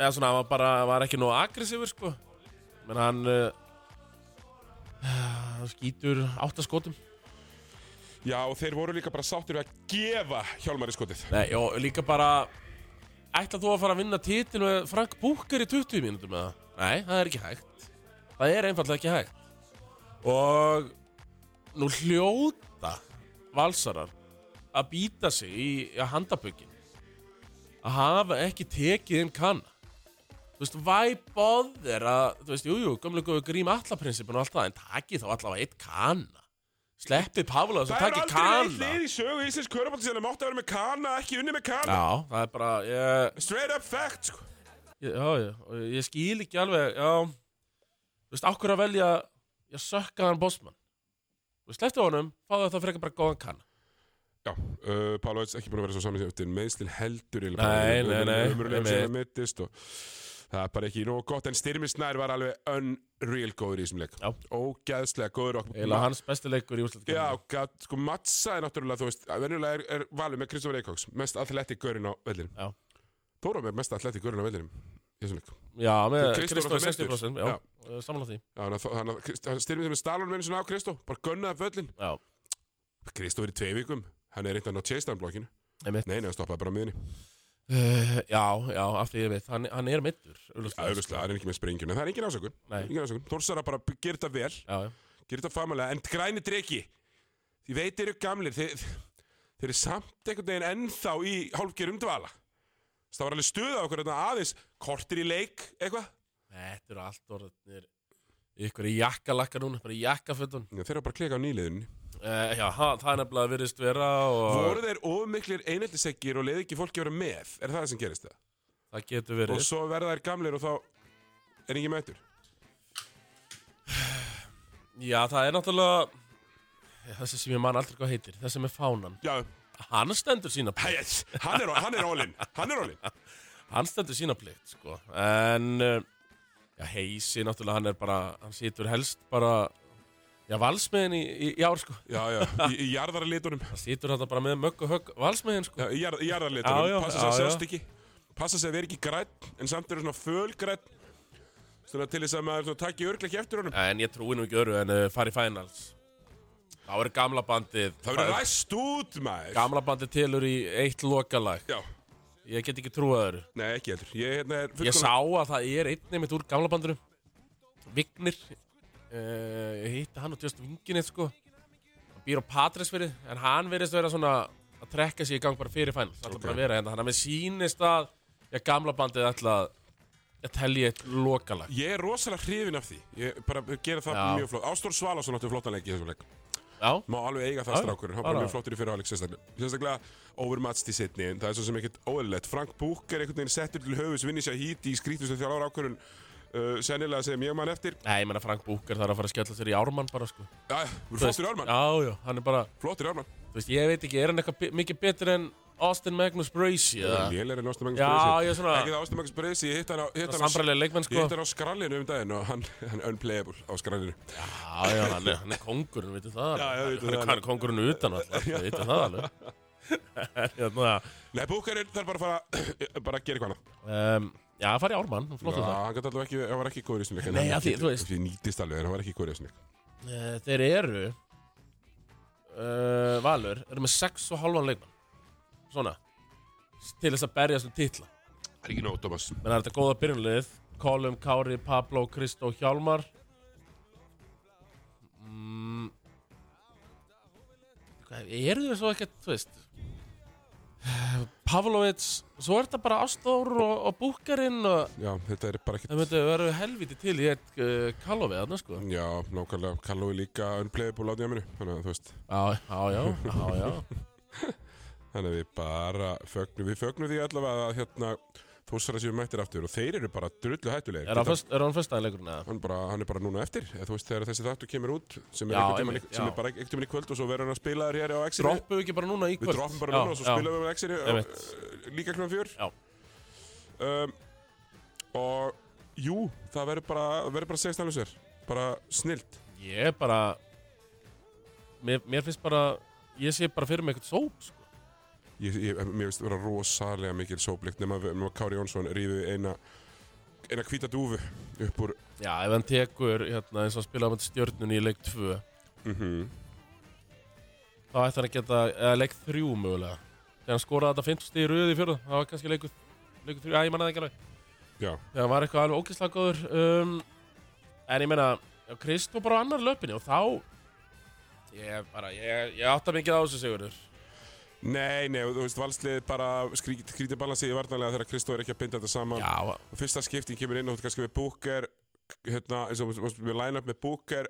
Speaker 2: Eða svona, hann var bara, var ekki nóg aggressífur, sko Men hann uh, Hann skýtur átta skotum
Speaker 1: Já, og þeir voru líka bara sáttir við að gefa Hjálmari skotið
Speaker 2: Nei, og líka bara Ætla þú að fara að vinna titil með Frank Búker í 20 mínútur með það? Nei, það er ekki hægt Það er einfallega ekki hægt Og nú hljóta valsarar að býta sig í, í handabökin að hafa ekki tekið inn kanna Þú veist, væ bóðir að, þú veist, jújú, gömlega góðu grím allaprinsipin og allt það, en takið þá allavega eitt kanna. Sleppið Pavla þess
Speaker 1: Það
Speaker 2: að
Speaker 1: er
Speaker 2: takið
Speaker 1: aldrei
Speaker 2: kanna.
Speaker 1: eitt lið í sögu Íslands Körbólti sem mátti að vera með kana, ekki unni með kana
Speaker 2: Já, það er bara, ég,
Speaker 1: Straight up fact, sko
Speaker 2: Ég- Já, já, og ég skil ekki alveg, já, þú veist, ákveður að velja, ég sökkaðan bósmann. Þú veist, leftu honum, fáðu þetta frekar bara góðan kann.
Speaker 1: Já, uh, Pála Veits ekki búin að vera svo saman sem eftir meðslinn heldur eiginlega
Speaker 2: Nei,
Speaker 1: bara.
Speaker 2: nei, nei,
Speaker 1: Ömurlegur
Speaker 2: einmitt.
Speaker 1: sem hann meiddist og það er bara ekki nóg gott en Styrmisnær var alveg unreal góður í þessum leik
Speaker 2: Já.
Speaker 1: ógeðslega góður og
Speaker 2: Eila hans besti leikur í úrslutum.
Speaker 1: Já, gat, sko Matsa er náttúrulega, þú veist, venjulega er, er valið með Kristofur Eikóks, mest atletik görinn á vellinum.
Speaker 2: Já.
Speaker 1: Tórum er mest atletik görinn á vellinum í þessum leik.
Speaker 2: Já, með
Speaker 1: Kristó er
Speaker 2: Kristóf
Speaker 1: alltaf mestur.
Speaker 2: 60%, já, já. samanlega því.
Speaker 1: Já, þannig að- þannig að Krist- hann styrmið sem er Stalon með einu svona á Kristó, bara gunnaði völlin.
Speaker 2: Já,
Speaker 1: Kristofur í tvei vikum, hann er reyndan á Chase-down-blokkinu.
Speaker 2: einmitt.
Speaker 1: Nei, nei, hann stoppaði bara á miðinni.
Speaker 2: Uh, já, já, af því ég veit, hann, hann er mittur,
Speaker 1: Já, auðvitað, hann er ekki með springjun, en það er engin ásökun.
Speaker 2: Nei.
Speaker 1: Engin ásökun. Þórsara bara gerir þetta vel,
Speaker 2: Já, já.
Speaker 1: gerir þetta famalega, en græni dregi. Ég veit þeir eru gamlir, þeir, þeir eru samt einhvern veginn ennþá í hálfgerum dvala. Þess, Það var alveg stuð á okkur þarna aðeins, kortir í leik, eitthvað.
Speaker 2: Þetta eru allt orðinir, ykkur í jakkalakka núna, bara í jakkafötun.
Speaker 1: Já, Þeir eru bara að klika á nýliðunni.
Speaker 2: Uh, já, ha- það er nefnilega virðist vera og
Speaker 1: Voru þeir ofmiklir einheltiseggir og leiði ekki fólki að vera með? Er það sem gerist það?
Speaker 2: það getur verið.
Speaker 1: Og svo verða þær gamlir og þá er engin mættur.
Speaker 2: Já, það er náttúrulega Já, þessi sem ég man aldrei hvað heitir, þessi með fánan
Speaker 1: Já,
Speaker 2: Hann stendur sína plikt,
Speaker 1: yes. hann er, hann er ólinn, hann er ólinn.
Speaker 2: hann stendur sína plikt sko. En uh, Já, heisi náttúrulega, hann er bara Hann situr helst bara Já, valsmiðin í, í, í ár sko
Speaker 1: Já, já, í, í jarðarlitunum.
Speaker 2: Hann situr þetta bara með mögg og högg Valsmiðin sko
Speaker 1: Já, í jarð- í
Speaker 2: Já, já,
Speaker 1: jarðarlitunum, passa sig að
Speaker 2: já, já.
Speaker 1: sjást ekki passa sig að vera ekki græn en samt eru svona fölgræn svona til þess að maður svona takki örgleik eftir honum
Speaker 2: En ég trúi nú ekki öru en uh, fari í finals Þá er gamla bandið
Speaker 1: það verður ræst út maður
Speaker 2: Gamla bandið tilur í eitt lokalag
Speaker 1: já,
Speaker 2: Ég get ekki trúið öru
Speaker 1: nei ekki heldur ég, hérna, er
Speaker 2: Ég
Speaker 1: fullkomna-
Speaker 2: sá að það er einn einmitt úr gamla bandinu Vignir uh, Ég hitti hann og tjóst vinginni sko Hann Býr á Patræsfyrir En hann verðist vera svona að trekka sig í gang bara fyrir fænl Það ætla bara að vera hérna Þannig að mér sýnist að ég, gamla bandið ætla að að telja eitt lokalag
Speaker 1: ég er rosalega hrifin af því ég bara gera það
Speaker 2: Já.
Speaker 1: mjög flott Ástór Svalásson átti flottan leik í þessum leik
Speaker 2: Já,
Speaker 1: má alveg eiga
Speaker 2: Já,
Speaker 1: það strákurinn hann
Speaker 2: bara.
Speaker 1: var mjög flottur í fyrir áleik sérstaklega sérstaklega overmatched í setni en það er svo sem ekkert óæðilegt Frank Búker einhvern veginn settur til höfus vinni sér híti í skrítustu þjálfur ákvörun uh, sennilega sem ég man eftir
Speaker 2: nei, ég menna Frank Búker þarf að fara að skella sér í ármann bara sko Þú
Speaker 1: Æ, við erum
Speaker 2: veist,
Speaker 1: flottur í ármann
Speaker 2: Já, já, hann er bara
Speaker 1: flottur í ármann
Speaker 2: Þú veist, ég veit ekki, er hann eitthvað bi- mikið betur en Austin Magnus Bracey eða
Speaker 1: Lélæri en Ástin Magnus
Speaker 2: Já,
Speaker 1: Breysi
Speaker 2: ég er svona-
Speaker 1: Ekki það Ástin Magnus Breysi, ég hitt hann á hitt hann á,
Speaker 2: Sambarlega
Speaker 1: Ég
Speaker 2: leikmenn sko
Speaker 1: hitt hann á skrallinu um daginn og hann, hann unplayable á skrallinu
Speaker 2: Já, já, hann er, hann er kongurinn, veitum það
Speaker 1: Já, já,
Speaker 2: alveg.
Speaker 1: vitum
Speaker 2: Hann er-
Speaker 1: það
Speaker 2: Hann er kongurinn utan alltaf, veitum það alveg Hérna,
Speaker 1: Nei, Búkari þarf bara að fara bara að gera eitthvað annað
Speaker 2: um, Já, það fari ármann, um flott
Speaker 1: Já,
Speaker 2: það
Speaker 1: Hann gæti allavega ekki, hann var ekki góður í sinni
Speaker 2: Nei, af því, þú veist.
Speaker 1: Því nýtist alveg, en hann var ekki góður í sinni
Speaker 2: uh, Þeir eru eh, uh, Valur, eru með 6 og halvan leikmann Svona til þess að berja sem titla
Speaker 1: Það er ekki nóg, Thomas.
Speaker 2: menn er þetta góða byrjunlið Kolum, Kári, Pablo, Kristó, Hjálmar mm. Hvað, eru þau svo ekkert, þú veist Pavlovic svo er þetta bara Ástór og, og Búkarinn og
Speaker 1: Já, þetta er bara
Speaker 2: það
Speaker 1: ekkert...
Speaker 2: myndi vera helviti til í eitt uh, Kallofi þarna sko
Speaker 1: Já, nákvæmlega. Kallói líka unplayable á djáminu. Þannig að þú veist,
Speaker 2: Já, já, já, já, já.
Speaker 1: þannig að við bara fögnum, við fögnum því allavega að hérna þúsara séu mættir aftur og þeir eru bara drullu hættulegir.
Speaker 2: Er hann föst- er hann fyrstaðilegurinn eða?
Speaker 1: hann, bara, hann er bara núna eftir eða, þú veist, þegar þessi þáttu kemur út sem er,
Speaker 2: Já,
Speaker 1: já, tíman,
Speaker 2: einmitt,
Speaker 1: sem
Speaker 2: já.
Speaker 1: er bara ekkert tíma í kvöld og svo verður hann að spila þér hér á Exit
Speaker 2: Droppum við ekki bara núna í kvöld?
Speaker 1: við droppum bara núna og svo spilum við á Exit
Speaker 2: Einmitt.
Speaker 1: líka kljóðan fjör
Speaker 2: Já.
Speaker 1: um, og jú, það verður bara, verður bara að segja stælu sér bara snilt
Speaker 2: Ég er bara mér, mér finnst bara Ég sé bara fyrir mig eitthvað sóp sko.
Speaker 1: ég, ég, mér finnst vera rosalega mikil sóplikt nema, nema Kári Jónsson rífið eina eina hvíta dúfu upp úr
Speaker 2: Já, ef hann tekur hérna, eins og hann spilaði með stjörnun í leik 2
Speaker 1: mm
Speaker 2: þá ætti hann að geta, eða leik 3 mögulega þegar hann skoraði þetta 50 stig í röði í fjörða það var kannski leikur, leikur 3, að ég manna það ekki alveg
Speaker 1: já,
Speaker 2: þegar hann var eitthvað alveg ógislega góður um, en ég meina já, Krist var bara á annar löpinni og þá ég bara, ég, ég átta mikið á þessu Sigurður
Speaker 1: nei, nei, þú veist, valslið bara skrítið balansi í varnarlega þegar Kristóð er ekki að binda þetta saman
Speaker 2: Já,
Speaker 1: Og fyrsta skipting kemur inn og þú ert kannski með Booker hérna, eins og varst með line-up með Booker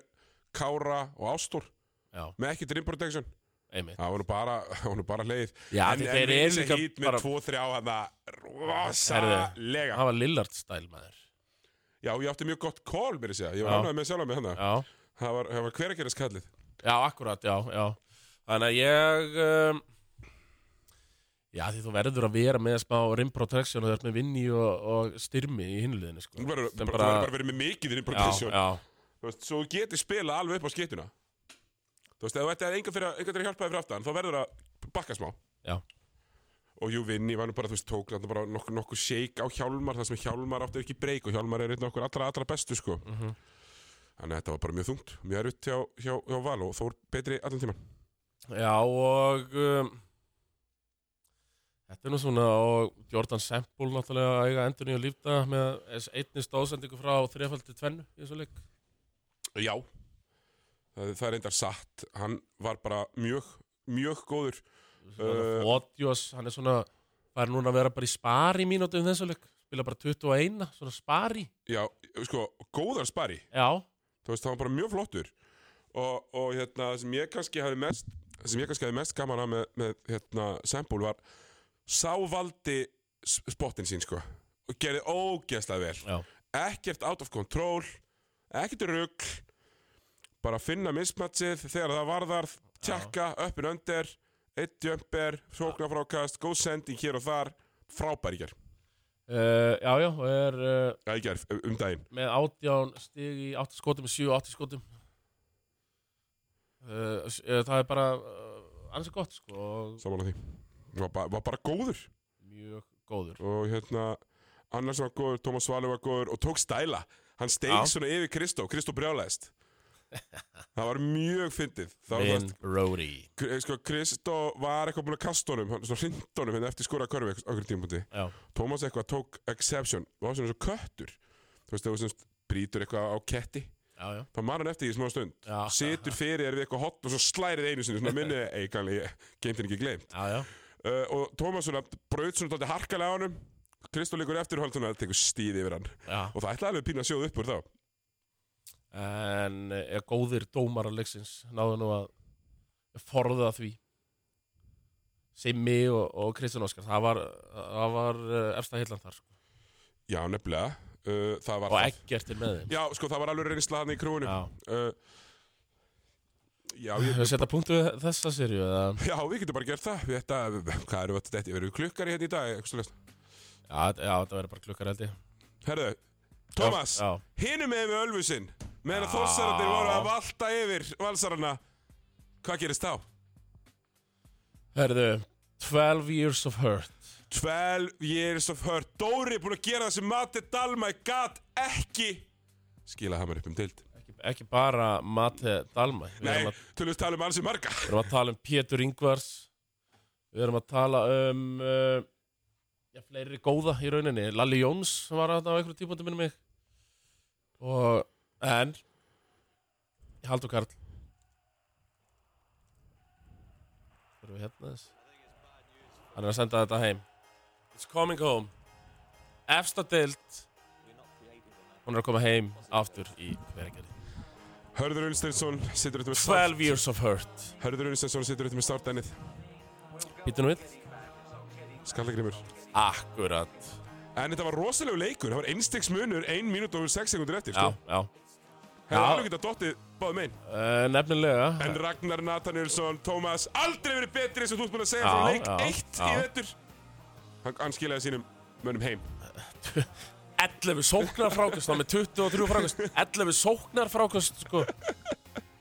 Speaker 1: Kára og Ástór
Speaker 2: já,
Speaker 1: með ekki dream protection
Speaker 2: einmitt
Speaker 1: það var nú bara, það var nú bara leið
Speaker 2: Já,
Speaker 1: en,
Speaker 2: þeir
Speaker 1: en
Speaker 2: eru
Speaker 1: Reynse
Speaker 2: líka
Speaker 1: hít
Speaker 2: bara-
Speaker 1: með 2-3 á hann rosalega
Speaker 2: Það var Lillard stæl maður
Speaker 1: já, ég átti mjög gott call mér að segja ég var
Speaker 2: Já.
Speaker 1: ánægð með sjálf með hann
Speaker 2: Já
Speaker 1: það var, það var hver að gera skallið
Speaker 2: Já, akkurat, já, já Þannig að ég um, Já, því þú verður að vera með smá rim protection og þú ert með vinni og, og styrmi í hinliðinu sko.
Speaker 1: þú verður
Speaker 2: Sem
Speaker 1: bara, bara... bara verið með mikið dream protection
Speaker 2: Já,
Speaker 1: Þú veist, svo þú getur spila alveg upp á skituna þú veist, ef þú ætti að enga fyrir að, enga til að hjálpa þér fyrir aftan þá verður að bakka smá
Speaker 2: já, já,
Speaker 1: og jú vinni var nú bara, þú veist, tók þarna bara nokkuð nokku shake á Hjálmar, það sem Hjálmar átti ekki breyk og Hjálmar er einn af okkur allra, allra bestu, sko.
Speaker 2: Mhm.
Speaker 1: Þannig að þetta var bara mjög þungt, mjög erfitt hjá, hjá, hjá Val og Þór betri allan tíman.
Speaker 2: já og um, Þetta er nú svona og Jordan Semple náttúrulega að eiga endur nýju lífda með þess- einni stóðsendingu frá þrefaldi tvennu í þessu leik
Speaker 1: Já. Það, það er eindar satt, hann var bara mjög, mjög góður. Uh,
Speaker 2: Fótjós, hann er svona fær núna að vera bara í spari mínútu um þessu leik spila bara 21, svona spari
Speaker 1: Já, sko, góðar spari,
Speaker 2: Já,
Speaker 1: þú veist, það var bara mjög flottur. Og, og hérna, það sem ég kannski hafi mest, það sem ég kannski hafi mest gaman að með, með hérna, Sembúl var sá valdi s- spottin sín, sko, og gerði ógeðslega vel.
Speaker 2: já
Speaker 1: ekkert out of control ekkert rugg bara finna mismatchið þegar það varðar tjekka, uppin öndir eitt jumper, sóknarfrákast góð sending hér og þar, frábær í gerð
Speaker 2: Uh, já, já, og er uh,
Speaker 1: ja, í gerð, um daginn
Speaker 2: með átján stig í 8 skotum, 7 og 8 skotum. Uh, s- uh, það er bara uh, ansið gott, sko, og
Speaker 1: saman á því, var, ba var bara góður
Speaker 2: mjög góður.
Speaker 1: og hérna, annars var góður Tómas Valur var góður og tók stæla hann steig
Speaker 2: Já.
Speaker 1: svona yfir Kristó, Kristó brjálæðist það var mjög fyndið það var
Speaker 2: Vin Brody.
Speaker 1: það, sko, Kristó var eitthvað búin að kasta honum hann- svona hrindunum hérna eftir skora körfi okkur tímpúti
Speaker 2: Já,
Speaker 1: Tómas eitthvað tók exception og var svona eins og köttur þú veist, þegar þú semst brýtur eitthvað á ketti
Speaker 2: já, já.
Speaker 1: þá man hann eftir því smá stund
Speaker 2: Já.
Speaker 1: situr fyrir þér við eitthvað hotn og svo slærið einu sinni svona minni, ei, kanni, geimt henni ekki gleym
Speaker 2: Já, já.
Speaker 1: uh, og Tómas svona braut svona dálítið harkalega á honum Kristó líkur eftir og hann svona tekur stíð yfir hann
Speaker 2: já.
Speaker 1: og það ætlaði alveg pínu að sjóða upp úr þá
Speaker 2: En eh, er góðir dómarar leiksins, náðu nú að forða því. Simmi og, og Kristján Óskar, það var, það var uh, efsta hillan þar, sko.
Speaker 1: já, nefnilega, uh, það var
Speaker 2: Og
Speaker 1: það
Speaker 2: ekkert er með þeim.
Speaker 1: já, sko, það var alveg reynsla hann í krúinu
Speaker 2: Já.
Speaker 1: uh, já,
Speaker 2: Við
Speaker 1: ég,
Speaker 2: höfum setja punktu þessa serju, eða...
Speaker 1: já, við getum bara gert það við þetta, hvað eru þetta, við erum klukkar í hérna í dag eitthvað svoleiðis.
Speaker 2: Já, þetta- já, þetta verður bara klukkar held ég.
Speaker 1: Herðu, Tómas,
Speaker 2: Já, já.
Speaker 1: hinum með við Ölfusinn meðan að
Speaker 2: Já.
Speaker 1: þórsarandir voru að valta yfir valsarana hvað gerist þá?
Speaker 2: Herðu, 12 Years of Hurt
Speaker 1: 12 years of hurt Dóri er búin að gera það sem Matti Dalmæ gat ekki skila hamar upp um dild
Speaker 2: Ekki, ekki bara Mate Dalmæ Við
Speaker 1: Nei,
Speaker 2: erum að,
Speaker 1: tölum við tala um alls í marga
Speaker 2: við erum að tala um Pétur Ingvars Við erum að tala um uh, já, fleiri góða í rauninni Lalli Jóns sem var þarna á einhverjum tímpundi minni mig og en Haldur Karl erum við hérna þess hann er að senda þetta heim It's coming home Efsta deild hún er að koma heim aftur í hveragerði
Speaker 1: Hörður Unnsteinsson situr eftir með sárt
Speaker 2: 12 years of hurt
Speaker 1: Hörður Unnsteinsson situr eftir með sárt ennið
Speaker 2: Býtum við
Speaker 1: Skallagrimur
Speaker 2: Akkurat
Speaker 1: En þetta var rosalegu leikur, það var einstegs munur 1 minút og 6 sekundur eftir
Speaker 2: Já,
Speaker 1: sko.
Speaker 2: já
Speaker 1: Hefði
Speaker 2: Já.
Speaker 1: alveg getað dottið báðum einn
Speaker 2: uh, Nefnilega
Speaker 1: En Ragnar Nathanielsson, Tómas Aldrei verið betri eins og þú ert búin að segja
Speaker 2: Já,
Speaker 1: frá leik
Speaker 2: já,
Speaker 1: 1 í
Speaker 2: já.
Speaker 1: vettur Hann, hann skilaði sínum mönnum heim
Speaker 2: 11 sóknar frákast þá með 23 frákast 11 sóknar frákast sko. uh,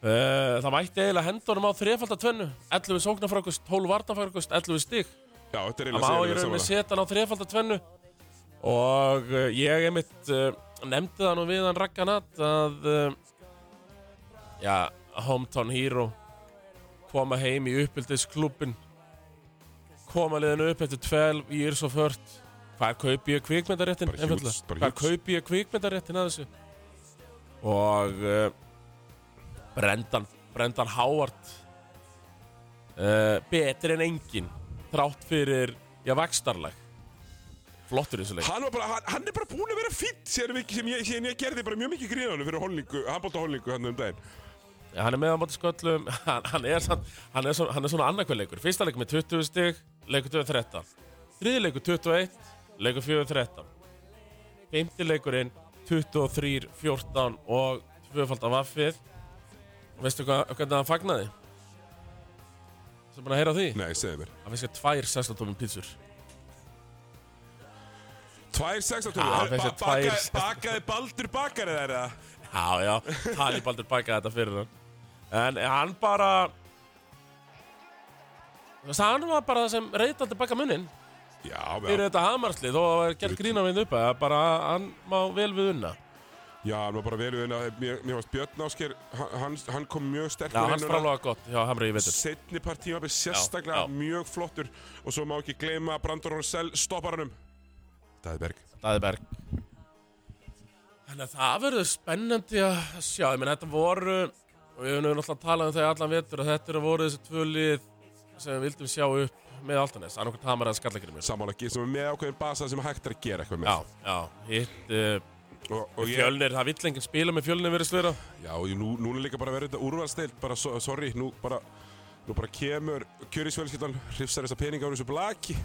Speaker 2: það mætti eiginlega hendunum á þrefaldatvennu 11 sóknar frákast, 12 vartanfrákast 11 stig
Speaker 1: Já, þetta er
Speaker 2: það
Speaker 1: eiginlega
Speaker 2: má
Speaker 1: að
Speaker 2: í
Speaker 1: segja
Speaker 2: rauninni
Speaker 1: sammála.
Speaker 2: setja hann á þrefaldatvennu og uh, ég einmitt uh, nefndi það nú við hann Ragganat að uh, já, hometown hero koma heim í uppbyldisklubin koma liðinu upp eftir 12 years of hurt hvað kaupi ég kvikmyndaréttin
Speaker 1: Bara huge,
Speaker 2: einfallega?
Speaker 1: bara
Speaker 2: hvað
Speaker 1: huge.
Speaker 2: kaupi ég kvikmyndaréttin að þessu og uh, Brendan Brendan Howard uh, betri en engin þrátt fyrir, já, vakstarlag flottur í þessu leik
Speaker 1: Hann, var bara, hann, hann er bara búinn að vera fýtt sem, ég- sem, ég- sem ég gerði bara mjög mikið gríðanum fyrir holningu, handbólta holningu hann um daginn
Speaker 2: Já, hann er með á móti sköllum hann, hann, er, samt- hann, er, svona, hann er svona annarkvæð leikur Fyrsta leikur með 20 stig, leikur 2 13 Þriði leikur 21, leikur 4 13 Fymti leikurinn 23 14 og tvöfaldan vaffið Og veistu hvað, hvernig hann fagnaði? Sem búin að heyra á því?
Speaker 1: Nei, segðu mér
Speaker 2: Hann finnst ekki tvær sestatómum pítsur
Speaker 1: Tvær
Speaker 2: Já,
Speaker 1: sextatölu
Speaker 2: þessi tvær
Speaker 1: bakaði,
Speaker 2: sex-
Speaker 1: bakaði Baldur bakari þær eða?
Speaker 2: Já, já, Talibaldur bakaði þetta fyrir hann En hann bara Þú veist, Hann var bara það sem reytaldi baka munnin
Speaker 1: Já,
Speaker 2: fyrir
Speaker 1: já,
Speaker 2: þetta hamarslið og var gert grína við upp að bara hann má vel við unna
Speaker 1: já, hann var bara verið inn að mér, mér varst Björn Ásker, hann, hann kom mjög
Speaker 2: Já,
Speaker 1: sterkur
Speaker 2: hans framlega gott hjá Hamri í vetur
Speaker 1: setni part tímabili sérstaklega
Speaker 2: já.
Speaker 1: mjög flottur og svo má ekki gleyma Brandur Horsell stopparanum Dæðberg
Speaker 2: Daðberg Þannig að það verður spennandi að sjá ég menn þetta voru og við höfum nú náttúrulega talað um það í allan vetur að þetta eru voru þessi tvö lið sem við vildum sjá upp með Altanes annarkvæmt Hamar að um skallakirnum
Speaker 1: sammála ekki sem er með ákveðin basa sem hægt er að gera eitthvað með
Speaker 2: Já, já, hitt uh,
Speaker 1: og, og ég,
Speaker 2: Fjölnir, það vill enginn spila með fjölnir verið slöra
Speaker 1: já, og ég- nú, núna líka bara verið þetta úrvalsteild bara, so, sorry, nú bara nú bara kemur kjörisfjölskyldan hrifsar þessa peninga úr þessu blaki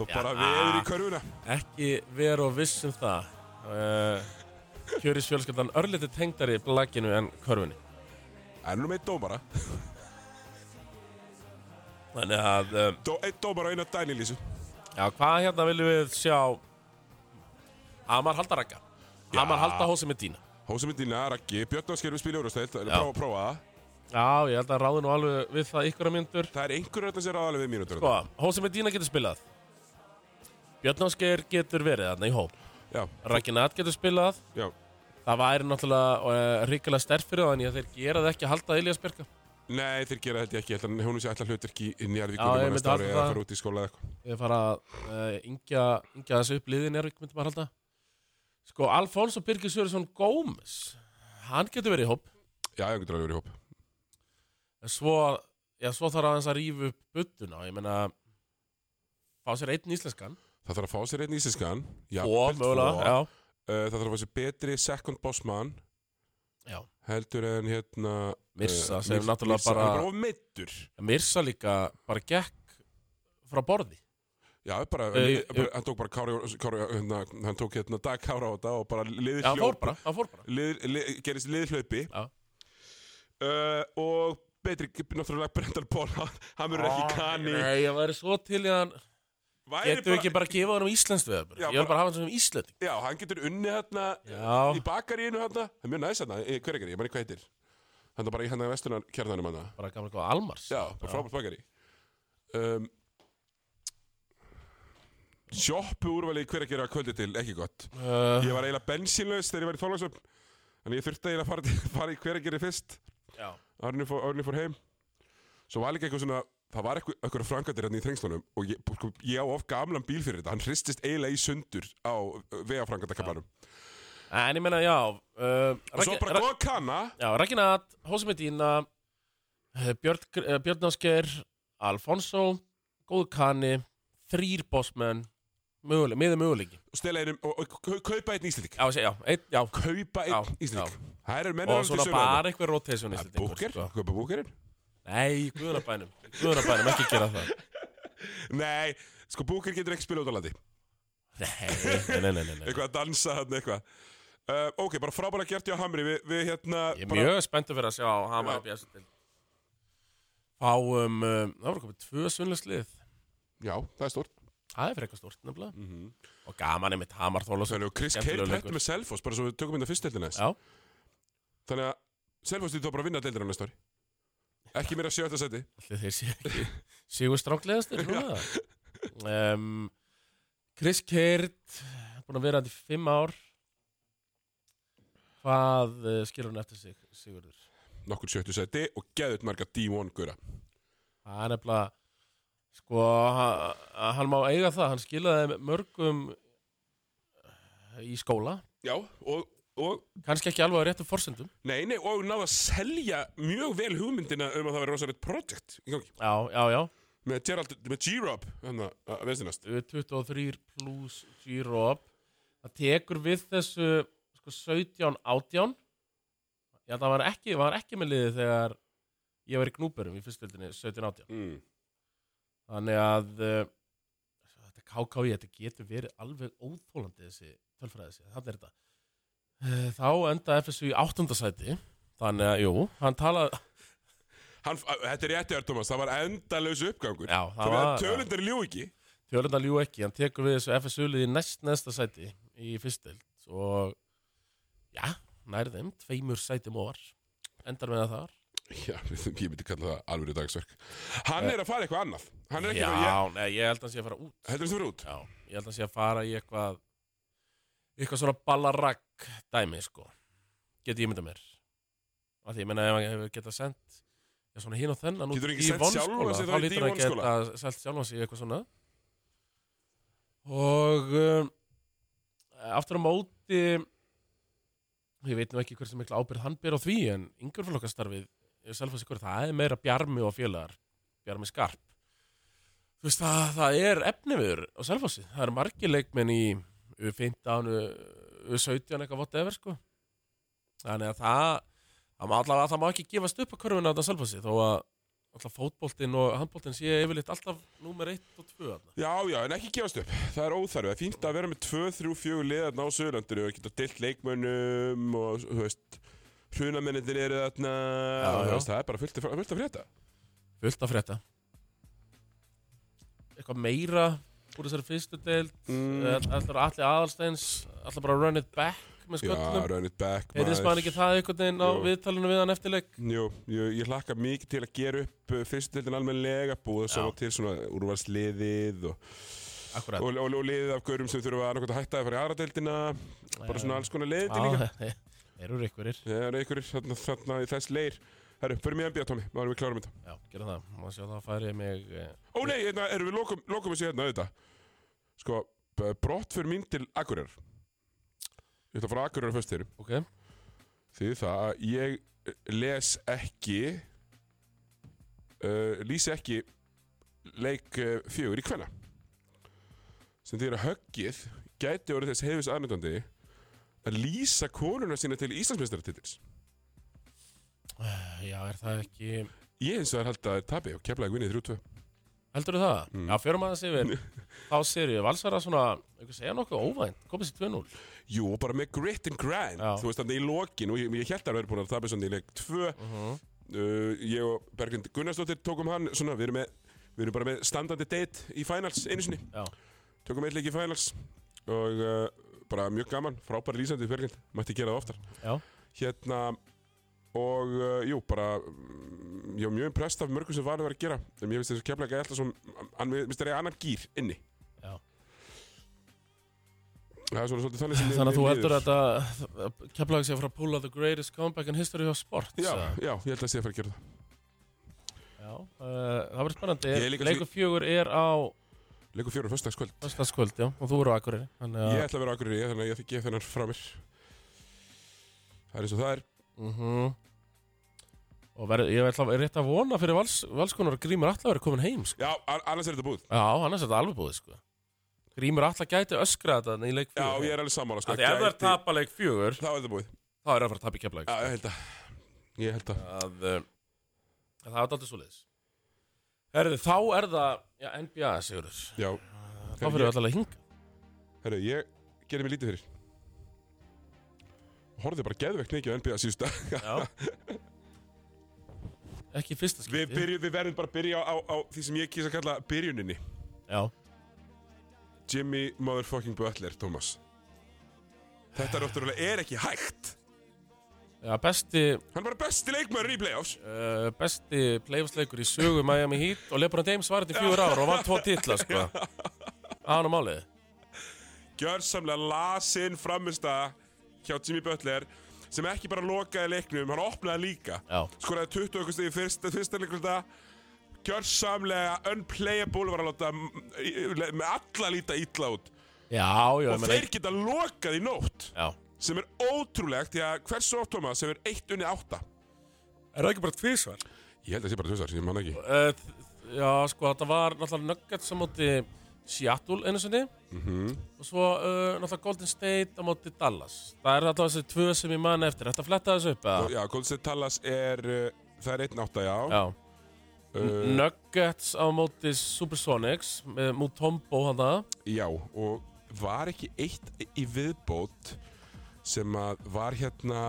Speaker 1: og bara
Speaker 2: Já.
Speaker 1: veður í körfuna
Speaker 2: Ekki vera og viss um það uh, Kjöris fjölskyldan örliti tengdari blakinu en körfunni
Speaker 1: en nú með einn dómara
Speaker 2: Þannig að, um,
Speaker 1: Dó, einn dómara og eina dænilísu
Speaker 2: já, hvað hérna viljum við sjá Amar halda rakka Amar halda hósi með dýna
Speaker 1: Hósamindina, Raggi, Björn Ásker við spila úrvalsteild
Speaker 2: Já.
Speaker 1: prófa, prófa það
Speaker 2: Já, ég held að ráði nú alveg við það ykkur að myndur
Speaker 1: það er einhverjum þetta sem er aðalega við mínútur
Speaker 2: Sko, hósi með dýna getur spilað Björn Ásgeir getur verið þarna í hóp
Speaker 1: já,
Speaker 2: Rakinat getur spilað
Speaker 1: já,
Speaker 2: Það væri náttúrulega uh, ríkilega sterf fyrir þannig að þeir gera það ekki að halda Elias Björka
Speaker 1: Nei, þeir gera þetta ekki, ég held að hún sé alltaf hlutverki í
Speaker 2: Já, ég
Speaker 1: Njarvíkunum
Speaker 2: myndi
Speaker 1: næsta ári
Speaker 2: halda
Speaker 1: eða
Speaker 2: það.
Speaker 1: fara út í skóla eða eitthvað.
Speaker 2: Við fara að uh, yngja, yngja þessu upp liðin Ervik, myndi maður halda. Sko, Alfonso Birgir Sjöresson Gómez, hann getur verið í hóp.
Speaker 1: Já, ég getur alveg verið í hóp.
Speaker 2: En Svo, já, svo þarf aðeins að rífa upp buttuna. Ég meina, fá sér einn íslenskan.
Speaker 1: Það þarf að fá sér einn íslenskan. Já,
Speaker 2: og mögulega, já.
Speaker 1: Það þarf að fá sér betri second boss man
Speaker 2: já.
Speaker 1: heldur en hérna...
Speaker 2: Mirsa,
Speaker 1: eh,
Speaker 2: sem
Speaker 1: Mir-
Speaker 2: náttúrulega
Speaker 1: Mirsa,
Speaker 2: bara-
Speaker 1: hann er bara of meiddur.
Speaker 2: Mirsa líka bara gekk frá borði.
Speaker 1: Já, bara,
Speaker 2: Eh,
Speaker 1: bara, hann tók bara Kári, Kári hérna, hann tók hérna dag Kára á þetta og bara liði
Speaker 2: Já, hann fór bara, hann fór bara.
Speaker 1: Lið, lið, gerist liðhlaupi
Speaker 2: Já.
Speaker 1: uh, og betri, náttúrulega Brendan Paul, hann hann verður ekki kanni
Speaker 2: Ah, Nei, ég væri svo til í að hann...
Speaker 1: Væri
Speaker 2: Getum við ekki bara að gefa hann um Íslands við það?
Speaker 1: Já,
Speaker 2: Ég vil bara hafa hann sem Íslanding.
Speaker 1: Já, hann getur unnið hérna
Speaker 2: Já.
Speaker 1: í bakaríinu hérna. Það er mjög næst hérna, í hver ekkert, ég maður ekki hvað heitir. Hann er bara í hérna vestunar kjarnanum hérna.
Speaker 2: Bara gamla góða Almars.
Speaker 1: Já, bara frábært bakarí. Um, sjoppu úrvali í hver ekkert að kvöldi til, ekki gott.
Speaker 2: Uh,
Speaker 1: Ég var eiginlega bensínlaus þegar ég var í þólagsöfn. Þannig ég þurfti eiginlega að fara, til- fara í hver ekkert fyrst,
Speaker 2: já.
Speaker 1: árni fór, árni fór heim. Svo var líka eitthvað svona það var eitthvað, eitthvað frangatir hérna í þrengslunum og ég, sko, ég á of gamlan bíl fyrir þetta hann hristist eiginlega í sundur á uh, vega frangatakablanum
Speaker 2: En ég menna, já uh,
Speaker 1: og svo bara góða kanna
Speaker 2: Já, Ragnat, Hósi Medina eh, Björn, eh, Björn Ásker Alfonso, Góðu Kani þrýr bossmenn möguleg, miður möguleiki
Speaker 1: og stela einum og, og, og kaupa einn íslending
Speaker 2: Já, ég segi, já, ein, já.
Speaker 1: kaupa
Speaker 2: Já,
Speaker 1: einn íslending það eru menn
Speaker 2: og svona bara einhver rotation í Íslendingur,
Speaker 1: búker,
Speaker 2: sko.
Speaker 1: kaupa búkerinn
Speaker 2: Nei, guðunabænum, guðunabænum, ekki gera það
Speaker 1: nei, sko búker getur ekki spila út á landi
Speaker 2: Nei, nei, nei, nei, nei.
Speaker 1: eitthvað að dansa hann eitthvað uh, ok, bara frábæra gert hjá Hamri við, við hérna
Speaker 2: Ég er
Speaker 1: bara,
Speaker 2: mjög spenntur fyrir að sjá Hama
Speaker 1: Já.
Speaker 2: upp í þessu til Fáum, um, það voru komið tvö sunnleslið
Speaker 1: já, það er stórt
Speaker 2: Það er fyrir eitthvað stort nefnilega
Speaker 1: mm -hmm.
Speaker 2: Og gaman er mitt Hamar Þólasson
Speaker 1: þannig að Chris Kale
Speaker 2: Mhm. Skemmtilegur
Speaker 1: hætti
Speaker 2: leikur.
Speaker 1: með Selfoss bara svo við tökum inn að fyrst deildina þess
Speaker 2: Já,
Speaker 1: þannig að Selfoss þýtti þá bara að vinna deildina næsta ári ekki meira sjötta seti
Speaker 2: allir þeir séu ekki Sigur strángleðastur um, Chris Kert Búin að vera hann í fimm ár Hvað uh, skilur hann eftir sig, Sigurður?
Speaker 1: nokkur sjöttu seti og geðut marga D1 gura
Speaker 2: Það er nefnilega sko, ha- ha- hann má eiga það hann skilaði mörgum eh, í skóla
Speaker 1: já, og, og
Speaker 2: kannski ekki alveg á réttum forsendum
Speaker 1: nei, nei, og náða að selja mjög vel hugmyndina um að það veri rosalegt project í gangi
Speaker 2: já, já, já,
Speaker 1: með Gerald, með G-Rob hann að- að vestinast
Speaker 2: 23 plus G-Rob það tekur við þessu sko, 17 átján já, það var ekki, var ekki með liðið þegar ég var í knúperum í fyrstöldinni 17 átján
Speaker 1: mm.
Speaker 2: þannig að uh, þetta KKI, þetta getur verið alveg óþólandi þessi tölfræði þessi, þannig er þetta uh, þá enda FSU í áttundasæti þannig að, jú, hann talaði
Speaker 1: hann, að- þetta er réttið, Thomas, það var endalaus uppgangur
Speaker 2: já, það
Speaker 1: þannig að
Speaker 2: var,
Speaker 1: tölundar ljú ekki
Speaker 2: tölundar ljú ekki hann tekur við þessu FSU-lið í næst næsta sæti í fyrstild og já, nærði þeim tveimur sæti móar, endar með það þar
Speaker 1: Já, ég myndi kalla það alveg dagsverk Hann er að fara eitthvað annað Hann er ekki
Speaker 2: Eh.
Speaker 1: að
Speaker 2: já,
Speaker 1: ég,
Speaker 2: nei, ég held að hann sé að fara út
Speaker 1: Heldur þú verið út?
Speaker 2: já, ég held að hann sé að fara í eitthvað eitthvað svona ballarakk dæmi sko geti ég mynda mér af því ég meina ef hann hefur getað sendt já, svona hinn og þennan út
Speaker 1: Getur hann ekki
Speaker 2: í
Speaker 1: sent sjálfan
Speaker 2: vonskóla
Speaker 1: sig
Speaker 2: þá
Speaker 1: þá í
Speaker 2: lítur hann að
Speaker 1: D1-skóla?
Speaker 2: geta selt sjálfan sig í eitthvað svona og um, aftur á móti ég veit nú ekki hversu mikla ábyrð hann ber á því en yngurflokkastarfið ég selfa sig hverju það er meira bjarmi og félagar bjarmi skarp þú veist það, það er efniviður á selfassi, það eru margir leikmenn í U15, U- U17 eitthvað vott efer sko þannig að það það má, allavega, það má ekki gefast upp að körfuna á selfassi þó að alltaf fótboltinn og handboltinn sé yfirleitt alltaf númer 1 og 2 þarna.
Speaker 1: Já, já, en ekki gefast upp Það er óþarfi, það er fínt að vera með 2-3-4 liðarna á Söðurlandinu og geta deilt leikmönnum og, þú veist hrunamennindir eru þarna
Speaker 2: Já,
Speaker 1: og, þú
Speaker 2: já.
Speaker 1: veist, Það er bara fullt, af- fullt af frétta
Speaker 2: fullt að frétta eitthvað meira úr þessari fyrstu deild
Speaker 1: mm,
Speaker 2: mm. allar allir aðalsteins allar bara run it back með
Speaker 1: Já,
Speaker 2: sköllum
Speaker 1: run it back
Speaker 2: heyrðist maður ekki það einhvern veginn á
Speaker 1: Jú.
Speaker 2: viðtalinu við hann eftirleik
Speaker 1: Jú, jú, ég hlakka mikið til að gera upp eh, fyrstildin almennlega búið
Speaker 2: Já.
Speaker 1: svo til svona úrvarsliðið og,
Speaker 2: akkurat
Speaker 1: og, og, og liðið af görum sem þurfa annarkvæmt að hætta að fara í aðra deildina bara svona alls konar leiðið líka
Speaker 2: eru ykkurir
Speaker 1: Það eru einhverjir þarna, þarna í þess leir Herru, förum í NBA, Tommy, þá erum við klárum þetta
Speaker 2: já, gera það, maður sjá það að færi mig eh,
Speaker 1: Ó nei, hérna, erum við lokum, lokum þessu hérna auðvitað Sko, b- brott fyrir mín til Akureyrar Ég ætla að fara Akureyrar fyrst þeirum
Speaker 2: ok,
Speaker 1: Því það að ég eh, les ekki uh, Lýsi ekki leik uh, fjögur í hvenna Sem því að höggið gæti orðið þess hefis aðmyndandi að lýsa konuna sína til Íslandsmeistaratitils
Speaker 2: já, er það ekki
Speaker 1: Ég eins og það er haldið að það er tabi og keflaði vinnið 3-2
Speaker 2: heldur það?
Speaker 1: Mm.
Speaker 2: já, fjörum aðeins yfir þá sér ég, valsara svona eitthvað segja nokkuð óvænt, komið sér 2-0
Speaker 1: Jú, og bara með grit and grind
Speaker 2: Já.
Speaker 1: Þú veist þannig í lokin og ég, ég held að hann verið búin að tapa svona í leik 2 uh,
Speaker 2: Mhm.
Speaker 1: Ég og Berglind Gunnarsdóttir tókum hann svona, við erum, með, við erum bara með standandi date í finals einu sinni
Speaker 2: Já.
Speaker 1: Tökum eitt leik í finals og uh, bara mjög gaman, frábæri lýsandi Berglind, mætti gera það oftar
Speaker 2: Já.
Speaker 1: Hérna og uh, jú, bara mm, ég var mjög impressed af mörgum sem valið var að gera en mér finnst þess að kemla ekki alltaf svona hann mér finnst það er annan gýr inni
Speaker 2: Já.
Speaker 1: Það er svona svolítið þannig sem
Speaker 2: þannig að þú
Speaker 1: mér
Speaker 2: heldur
Speaker 1: líður.
Speaker 2: að þetta kemlaði sér frá að pulla the greatest comeback in history of sport
Speaker 1: Já,
Speaker 2: sagði hann.
Speaker 1: já, ég held að sé að fara að gera það
Speaker 2: Já, uh, það verður spennandi.
Speaker 1: Ég er líka
Speaker 2: Leikur fjögur er á
Speaker 1: Leikur fjóru föstudagskvöld
Speaker 2: Föstaskvöld, já, og þú eru á Akureyri Þannig að
Speaker 1: Ég ætla að vera ákvörður í þannig að ég ætla að gefa þennan frá mér Það er eins og það er
Speaker 2: Mhm. Og verð, ég ætla að rétt að vona fyrir vals, valskonar að Grímur Atla verið komin heim sko.
Speaker 1: Já, a- annars er þetta búið
Speaker 2: Já, annars er þetta alveg búið sko. Grímur Atla gæti öskra þetta þarna í leik
Speaker 1: Já,
Speaker 2: fjögur
Speaker 1: ég er alveg sammála sko,
Speaker 2: Af Því ef það er
Speaker 1: gæti-
Speaker 2: tapa leik fjögur
Speaker 1: Þá er þetta búið
Speaker 2: Þá er það að fara að tapa í kefla
Speaker 1: Já, ég held að Ég held að
Speaker 2: að, uh, að Það er alltaf svo leiðis Herðu, þá er það já, NBA, Sigurður
Speaker 1: Já,
Speaker 2: Þá fyrir við alltaf að hinga
Speaker 1: herru, ég gerði mig lítið fyrir Horfði bara geðvegt mikið á NBA síðust
Speaker 2: Já Ekki í fyrsta skipti
Speaker 1: við, byrju, við verðum bara að byrja á, á því sem ég kýsa að kalla byrjuninni
Speaker 2: Já,
Speaker 1: Jimmy motherfucking Butler, Thomas Þetta er óttúrulega er ekki hægt
Speaker 2: já besti
Speaker 1: Hann er bara besti leikmæður í playoffs
Speaker 2: Uh, besti playoffsleikur í sögu Miami Heat og LeBron James var þetta í fjögur ár og vann tvo titla sko án og málið
Speaker 1: gjörsamlega lasinn framista hjá Jimmy Butler sem ekki bara lokaði leiknum, hann opnaði líka
Speaker 2: já,
Speaker 1: skoraði 20 okkur stegi fyrsta, fyrsta leikluta gjörsamlega unplayable var að láta m- í- le- með alla líta illa út
Speaker 2: já, já, ég
Speaker 1: og
Speaker 2: meina-
Speaker 1: þeir geta lokað í nótt
Speaker 2: já.
Speaker 1: sem er ótrúlegt því að hversu oft Thomas hefur eitt unni átta
Speaker 2: er það ekki bara tvísvar?
Speaker 1: ég held að það sé bara tjóðsar, ég man ekki
Speaker 2: Eh, já, sko, þetta var náttúrulega Nuggets á móti Seattle einu sinni og svo uh, náttúrulega Golden State á móti Dallas það er alltaf þessi tvö sem ég man eftir Þetta fletta þessu upp eða?
Speaker 1: já, Golden State Talas er uh, það er einn átta, já,
Speaker 2: Já,
Speaker 1: Uh,
Speaker 2: Nuggets á móti Supersonics með Mutombo hann það
Speaker 1: Já, og var ekki eitt í viðbót sem að var hérna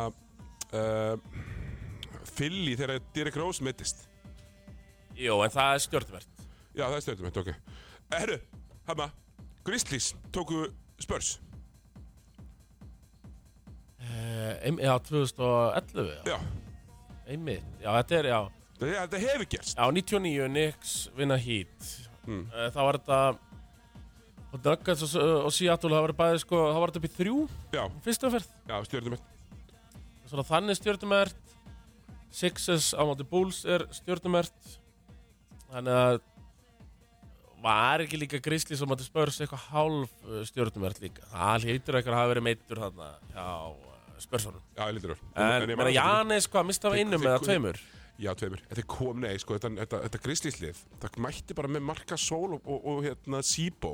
Speaker 1: uh, Philly þegar Derek Rose mittist
Speaker 2: Jó, en það er stjórnvert
Speaker 1: Já, það er stöndum þetta, ok Eh, Herru, hama, Grizzlies tóku spörs
Speaker 2: Uh, já, 2011 já.
Speaker 1: Já,
Speaker 2: Einmitt, já þetta er, já
Speaker 1: þetta, þetta hefur gerst
Speaker 2: Já, 99, Knicks vinna Heat mm. Það var þetta og Nuggets og, og Seattle það var bæði sko, það var þetta upp í þrjú
Speaker 1: Já,
Speaker 2: fyrstu umferð,
Speaker 1: já, stjórnum þetta
Speaker 2: svona þannig stjórnumert Sixers á móti Bulls er stjórnumert þannig að var ekki líka Grizzlies á móti Spurs eitthvað hálf stjórnumert líka það heitur eitthvað að hafa verið meittur þarna hjá Spursonum
Speaker 1: Já, ég lítur
Speaker 2: en, en, en Janis, hvað, mista af
Speaker 1: Þeir-
Speaker 2: einum
Speaker 1: þeir-
Speaker 2: eða tveimur
Speaker 1: Já, tveimur. Þetta er kom, nei, sko, þetta, þetta, þetta grislíslið, það mætti bara með marka sól og, og, og hérna síbó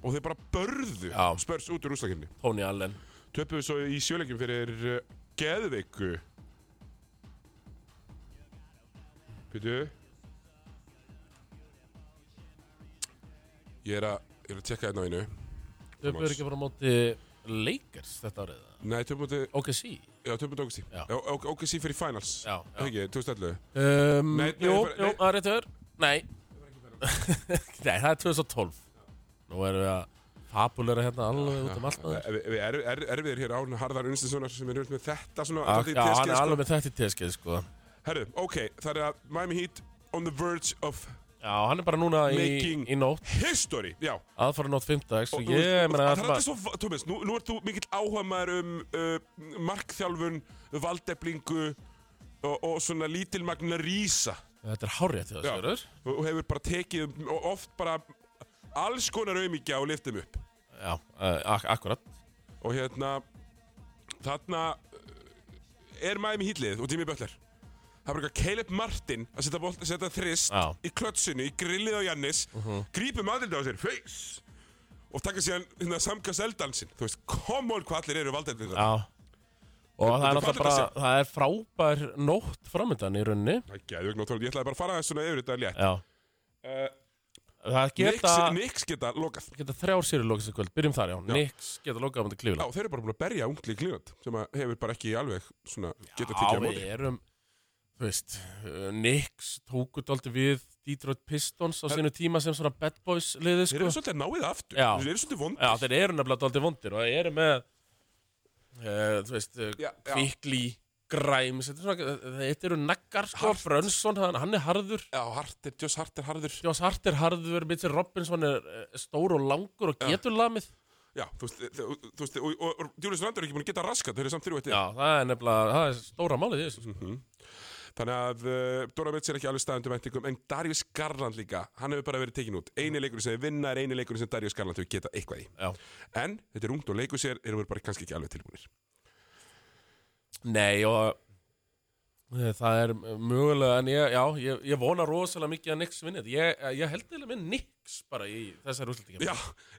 Speaker 1: og þeir bara börðu
Speaker 2: Já.
Speaker 1: spörs út úr úslaginni.
Speaker 2: Tony Allen
Speaker 1: Töpum við svo í sjöleikjum fyrir uh, Geðveiku Býtu Ég er að Ég er að tekka þetta á einu
Speaker 2: Töpu er ekki bara á móti Lakers þetta árið eða?
Speaker 1: Nei, töpum við
Speaker 2: OKC
Speaker 1: Já, töpum við OKC
Speaker 2: Já.
Speaker 1: Já, ok- OKC fyrir finals
Speaker 2: Já,
Speaker 1: Það ekki, 2011
Speaker 2: um,
Speaker 1: Nei, nei,
Speaker 2: Jú,
Speaker 1: fyrir-
Speaker 2: jú,
Speaker 1: nei.
Speaker 2: það er rétt verið Nei Nei, það er 2012 Nú erum við að fabulera hérna alveg út um allt maður.
Speaker 1: Við við erum er, er, erfiðir hér án Harðar Unstinssonar sem er hult með þetta svona
Speaker 2: Já,
Speaker 1: dálítið teskið,
Speaker 2: hann er
Speaker 1: sko.
Speaker 2: alveg með þetta í teskið sko
Speaker 1: Herru, ok, það er að Miami Heat on the verge of
Speaker 2: Já, hann er bara núna í,
Speaker 1: Making-
Speaker 2: í nótt
Speaker 1: history Já,
Speaker 2: Aðfara nótt 5 dags
Speaker 1: Og
Speaker 2: Og
Speaker 1: þú veist,
Speaker 2: Sko, ég,
Speaker 1: og
Speaker 2: meina,
Speaker 1: það er alltaf svo, Tómas, nú, nú ert þú mikill áhamaður um uh, markþjálfun, valdeflingu og, og svona lítilmagna rísa
Speaker 2: þetta er hárið til
Speaker 1: Já.
Speaker 2: þessu verður
Speaker 1: og, og hefur bara tekið og oft bara alls konar auðmíkja og lift þeim upp
Speaker 2: Já, uh, ak akkurat
Speaker 1: og hérna þarna eh, er Miami hýllið og Jimmy Butler það er bara eitthvað Caleb Martin að setja, bolt, setja þrist
Speaker 2: Já. Mhm.
Speaker 1: í klötsinu, í grillið á Jannis uh -huh. grípum aðlita á sér, face og taka síðan hérna, samkast eldansin þú veist, come on hvað allir eru valdeflingar
Speaker 2: Já Og það er
Speaker 1: Þetta er
Speaker 2: náttúrulega bara,
Speaker 1: fallegt
Speaker 2: það er frábær nótt framöndan í rauninni
Speaker 1: Það er geðvögn og tólið, ég ætlaði bara að fara aðeins svona yfir þetta létt.
Speaker 2: Já
Speaker 1: Uh,
Speaker 2: Það geta,
Speaker 1: Nix, Nix geta lokað.
Speaker 2: geta þrjár sýri lokað sér kvöld, byrjum þar já, Nix geta lokað á myndi
Speaker 1: Já,
Speaker 2: klífilega
Speaker 1: þeir eru bara búin að berja ungli klínat sem að hefur bara ekki alveg svona geta
Speaker 2: Já,
Speaker 1: tekið á
Speaker 2: við
Speaker 1: móti.
Speaker 2: erum, þú veist, uh, Nix tóku dálítið við Detroit Pistons á sinu tíma sem svona bad boys liði
Speaker 1: Þeir
Speaker 2: sko
Speaker 1: eru svolítið náið aftur,
Speaker 2: Já.
Speaker 1: þeir eru svolítið vond.
Speaker 2: Já, þeir eru nefnilega dálítið vondir og þeir eru með, uh, þú veist, uh,
Speaker 1: Já, já.
Speaker 2: kvikli, græms, þetta er svona, uh, þetta eru naggar sko,
Speaker 1: Hart.
Speaker 2: Brönsson, hann, hann er harður
Speaker 1: Já, Harter, Joss Harter, Harður.
Speaker 2: Joss Hart er harður, Mitchell Robinson er eh, stór og langur og getur lamið
Speaker 1: Já, þú veist, þe- þe- þú veist, og, og, og Julius Randar er ekki búin að geta raskat, þeir eru samt þrjú eitt. Mm.
Speaker 2: Já, það er nefnilega, það er stóra málið í þessu sko.
Speaker 1: Þannig að uh, Dóra Mitch er ekki alveg staðundum væntingum en Darius Garland líka, hann hefur bara verið tekin út eini leikurinn sem þið vinna er eini leikurinn sem Darius Garland hefur getað eitthvað í.
Speaker 2: Já.
Speaker 1: En þetta er ungt og leikur sér erum við bara kannski ekki alveg tilbúinir.
Speaker 2: Nei og eh, það er mögulega en ég, já, ég, ég vona rosalega mikið að Nix vinni þetta. Ég, eh, ég held eða með Nix bara í þessari úrslutingum.
Speaker 1: Já,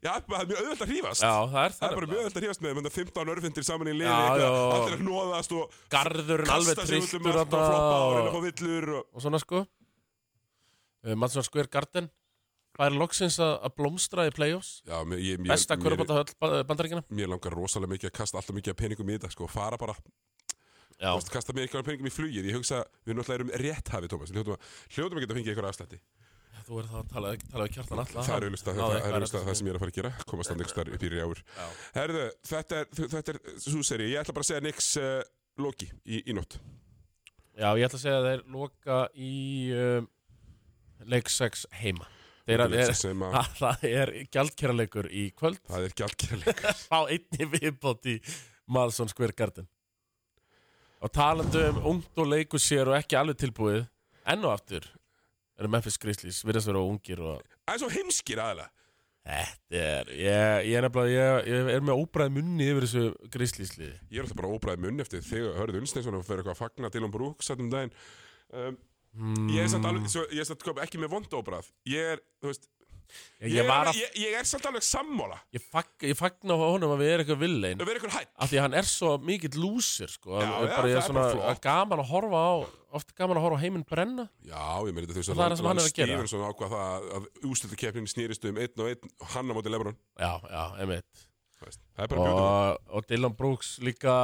Speaker 1: já, það er mjög auðvelt að hrífast.
Speaker 2: já, það er
Speaker 1: Það
Speaker 2: það.
Speaker 1: er bara mjög öll að hrífast með, menn það 15 örfindir saman í liði,
Speaker 2: Já,
Speaker 1: eitthvað,
Speaker 2: já.
Speaker 1: allir að hnoðast og
Speaker 2: Garðurinn alveg
Speaker 1: kasta sig út um
Speaker 2: trilltur
Speaker 1: allt og
Speaker 2: þarna
Speaker 1: floppa og reyna að
Speaker 2: og,
Speaker 1: fá villur og...
Speaker 2: og svona sko. Mansson Square Garden fær loksins að, að blómstra í playoffs.
Speaker 1: Já, mér, ég, mér,
Speaker 2: Besta
Speaker 1: mér-
Speaker 2: kvörubátahöll bandaríkina.
Speaker 1: Mér langar rosalega mikið að kasta alltaf mikið af peningum í þetta, sko, fara bara, þú
Speaker 2: Já.
Speaker 1: veist, kasta mér einhverjum peningum í flugið, ég hugsa, við náttúrulega erum rétt hafið, Tómas, hljóðum að, hljóðum að geta fengið einhverja afslætti.
Speaker 2: Þú verður þá að tala, tala við kjartan alltaf.
Speaker 1: Það er auðvitað það, það, það, það, það sem ég er að fara að gera, komast þannig starf upp í rjáur.
Speaker 2: Já.
Speaker 1: Herðu, þetta er, þetta er, svo seri, ég ætla bara að segja Nix uh, Loki í, í nótt.
Speaker 2: Já, ég ætla að segja að þeir loka í um, leik 6 heima. Þeir að, er,
Speaker 1: sem að,
Speaker 2: að, það er gjaldkerraleikur í kvöld.
Speaker 1: það er gjaldkerleik.
Speaker 2: Fá einni viðbót í Malsson Square Garden. Og talandi um ungt og leikur sér og ekki alveg tilbúið, enn og aftur eru Memphis Grizzlies, virðast vera ungir og
Speaker 1: Það er svo heimskir aðalega.
Speaker 2: þetta er, ég, ég er nefnilega, ég, ég er með óbræð munni yfir þessu Grizzliesliði.
Speaker 1: Ég er alltaf bara óbræðið munn eftir þegar hörðu Unnsteinsson og fyrir eitthvað að fagna til um brúk satt um daginn. Um, ég er samt alveg, svo, ég er samt kom, ekki með vond óbræð. Ég er, þú veist, ég,
Speaker 2: Ég, Hmm, ég,
Speaker 1: er,
Speaker 2: var að,
Speaker 1: ég, ég er samt alveg sammála. um
Speaker 2: ég, fag, ég fagna honum að við erum eitthvað villein.
Speaker 1: Það verður eitthvað hætt.
Speaker 2: af því að hann er svo mikill lúsir sko.
Speaker 1: Já,
Speaker 2: já,
Speaker 1: já,
Speaker 2: bara,
Speaker 1: það
Speaker 2: ég
Speaker 1: er
Speaker 2: er svona
Speaker 1: bara flott.
Speaker 2: að gaman að horfa á ofta gaman að horfa á heiminn brenna
Speaker 1: Já, ég meina þetta þú veist
Speaker 2: Það er það sem hann er að gera.
Speaker 1: Stevenson ákvað það að- að ústöldikeppnin snýrist um einn og einn og hann á móti Lebron.
Speaker 2: já, já, einmitt
Speaker 1: Þú veist, Það er bara bjóðum.
Speaker 2: og, og Dylan Brooks líka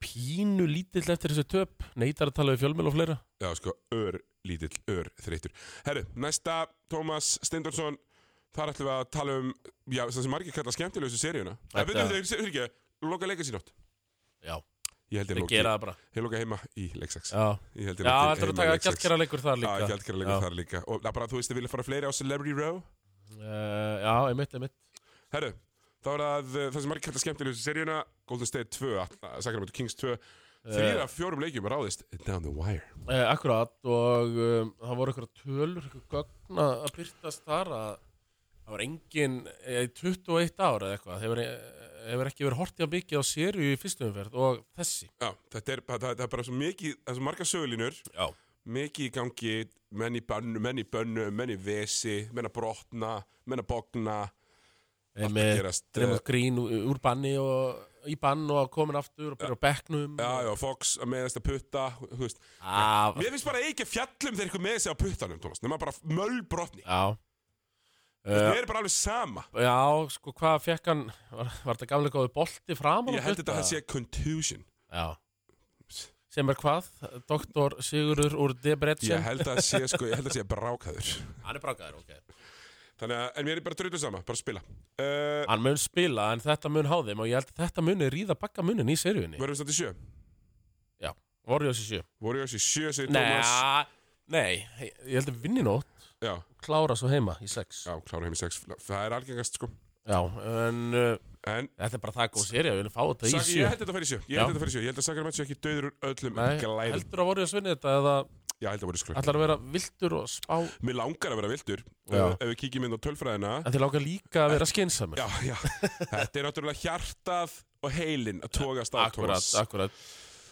Speaker 2: pínu lítill eftir þessu töp neytar að tala við fjölmjöl og fleira
Speaker 1: Já, sko, ör, lítill, ör, þreytur. Herru, næsta, Tómas Steindorsson. Þar ætlum við að tala um, já, það sem margir kalla skemmtilegustu seríuna. Það
Speaker 2: Þetta-
Speaker 1: veitum við þegar, fyrir ekki, loka leika sín átt.
Speaker 2: já,
Speaker 1: Ég held ég
Speaker 2: þeir
Speaker 1: loki,
Speaker 2: gera það bara
Speaker 1: ég loka heima í leiksaks.
Speaker 2: já,
Speaker 1: Ég held
Speaker 2: já
Speaker 1: ég loki
Speaker 2: þetta er að
Speaker 1: heima í
Speaker 2: taka
Speaker 1: leiksaks.
Speaker 2: gjaldkera leikur þar
Speaker 1: Já,
Speaker 2: líka
Speaker 1: ekki aldrei leikur
Speaker 2: Já.
Speaker 1: þar líka Og það er bara, þú veist, þið vilja fara fleiri á Celebrity Row
Speaker 2: Eh, já, einmitt, einmitt
Speaker 1: Herru, þá er það uh, það sem margir kallar skemmtilegur í seríuna Golden State 2, Atla- Sacramento Kings 2 Þrýra af fjórum leikjum er ráðist Down the wire
Speaker 2: Eh, akkurat og um, það voru eitthvað tölur, eitthvað gögn að að byrtast þar að það var engin eh, í 21 ára eða eitthvað hefur, eh, hefur ekki verið hortið að mikið á sériu í fyrstu umferð og þessi
Speaker 1: Já, þetta er, það, það er bara svo mikið Það er svo margar sögulínur
Speaker 2: Já,
Speaker 1: Mikið í gangi, menn í bönnu, menn í bönnu, menn í vesi Menn að brotna, menn að bogna að
Speaker 2: Eh, með
Speaker 1: gerast, eh,
Speaker 2: Dremond Green úr, úr banni og í bann og komin aftur og byrja á bekknum
Speaker 1: Já, já, Fox að meðast að putta þú veist.
Speaker 2: Ah,
Speaker 1: Mér finnst bara ekki að fjallum þegar ykkur með sig á puttanum, Tómas Nefna bara mölbrotni
Speaker 2: já.
Speaker 1: Mér
Speaker 2: Uh,
Speaker 1: er bara alveg sama
Speaker 2: já, sko hvað fekk hann var, var þetta gamlega góði bolti fram
Speaker 1: Ég held þetta að það sé contusion
Speaker 2: Já Sem er hvað? Doktor Sigurður úr Debrecen
Speaker 1: Ég held að það sé, sko, ég held að það sé brákaður
Speaker 2: Hann er brákaður, ok
Speaker 1: Þannig að, en mér er bara drullu sama, bara spila uh,
Speaker 2: Hann mun spila en þetta mun há þeim og ég held að þetta muni ríða bakka munin í seríunni
Speaker 1: Verðum við standi sjö?
Speaker 2: Warriors í sjö
Speaker 1: Voru ég að sé sjö, segir Thomas
Speaker 2: Nei, nei, ég held að vinni nótt
Speaker 1: Já,
Speaker 2: og klára svo heima í sex Já,
Speaker 1: já, klára heim í sex Það er algengast, sko
Speaker 2: en uh,
Speaker 1: En,
Speaker 2: þetta er bara það góð seríu, við viljum fá þetta í
Speaker 1: sag,
Speaker 2: sjö
Speaker 1: ég held þetta að fara í sjö Ég
Speaker 2: Já.
Speaker 1: held þetta að fara í sjö Ég held að Sakaramento sé ekki döður úr öllum
Speaker 2: Nei,
Speaker 1: glæðum
Speaker 2: heldur að Warriors vinni þetta eða
Speaker 1: Já, ég held að voru skrökk
Speaker 2: ætlar að vera viltur og spá en
Speaker 1: Mér langar að vera vildur
Speaker 2: Já.
Speaker 1: uh, Ef við kíkjum inn á tölfræðina
Speaker 2: þið láka líka að vera skinsamur
Speaker 1: Já, já Þetta er náttúrulega hjartað og heilin að tókast á,
Speaker 2: Akkurat,
Speaker 1: Thomas
Speaker 2: akkurat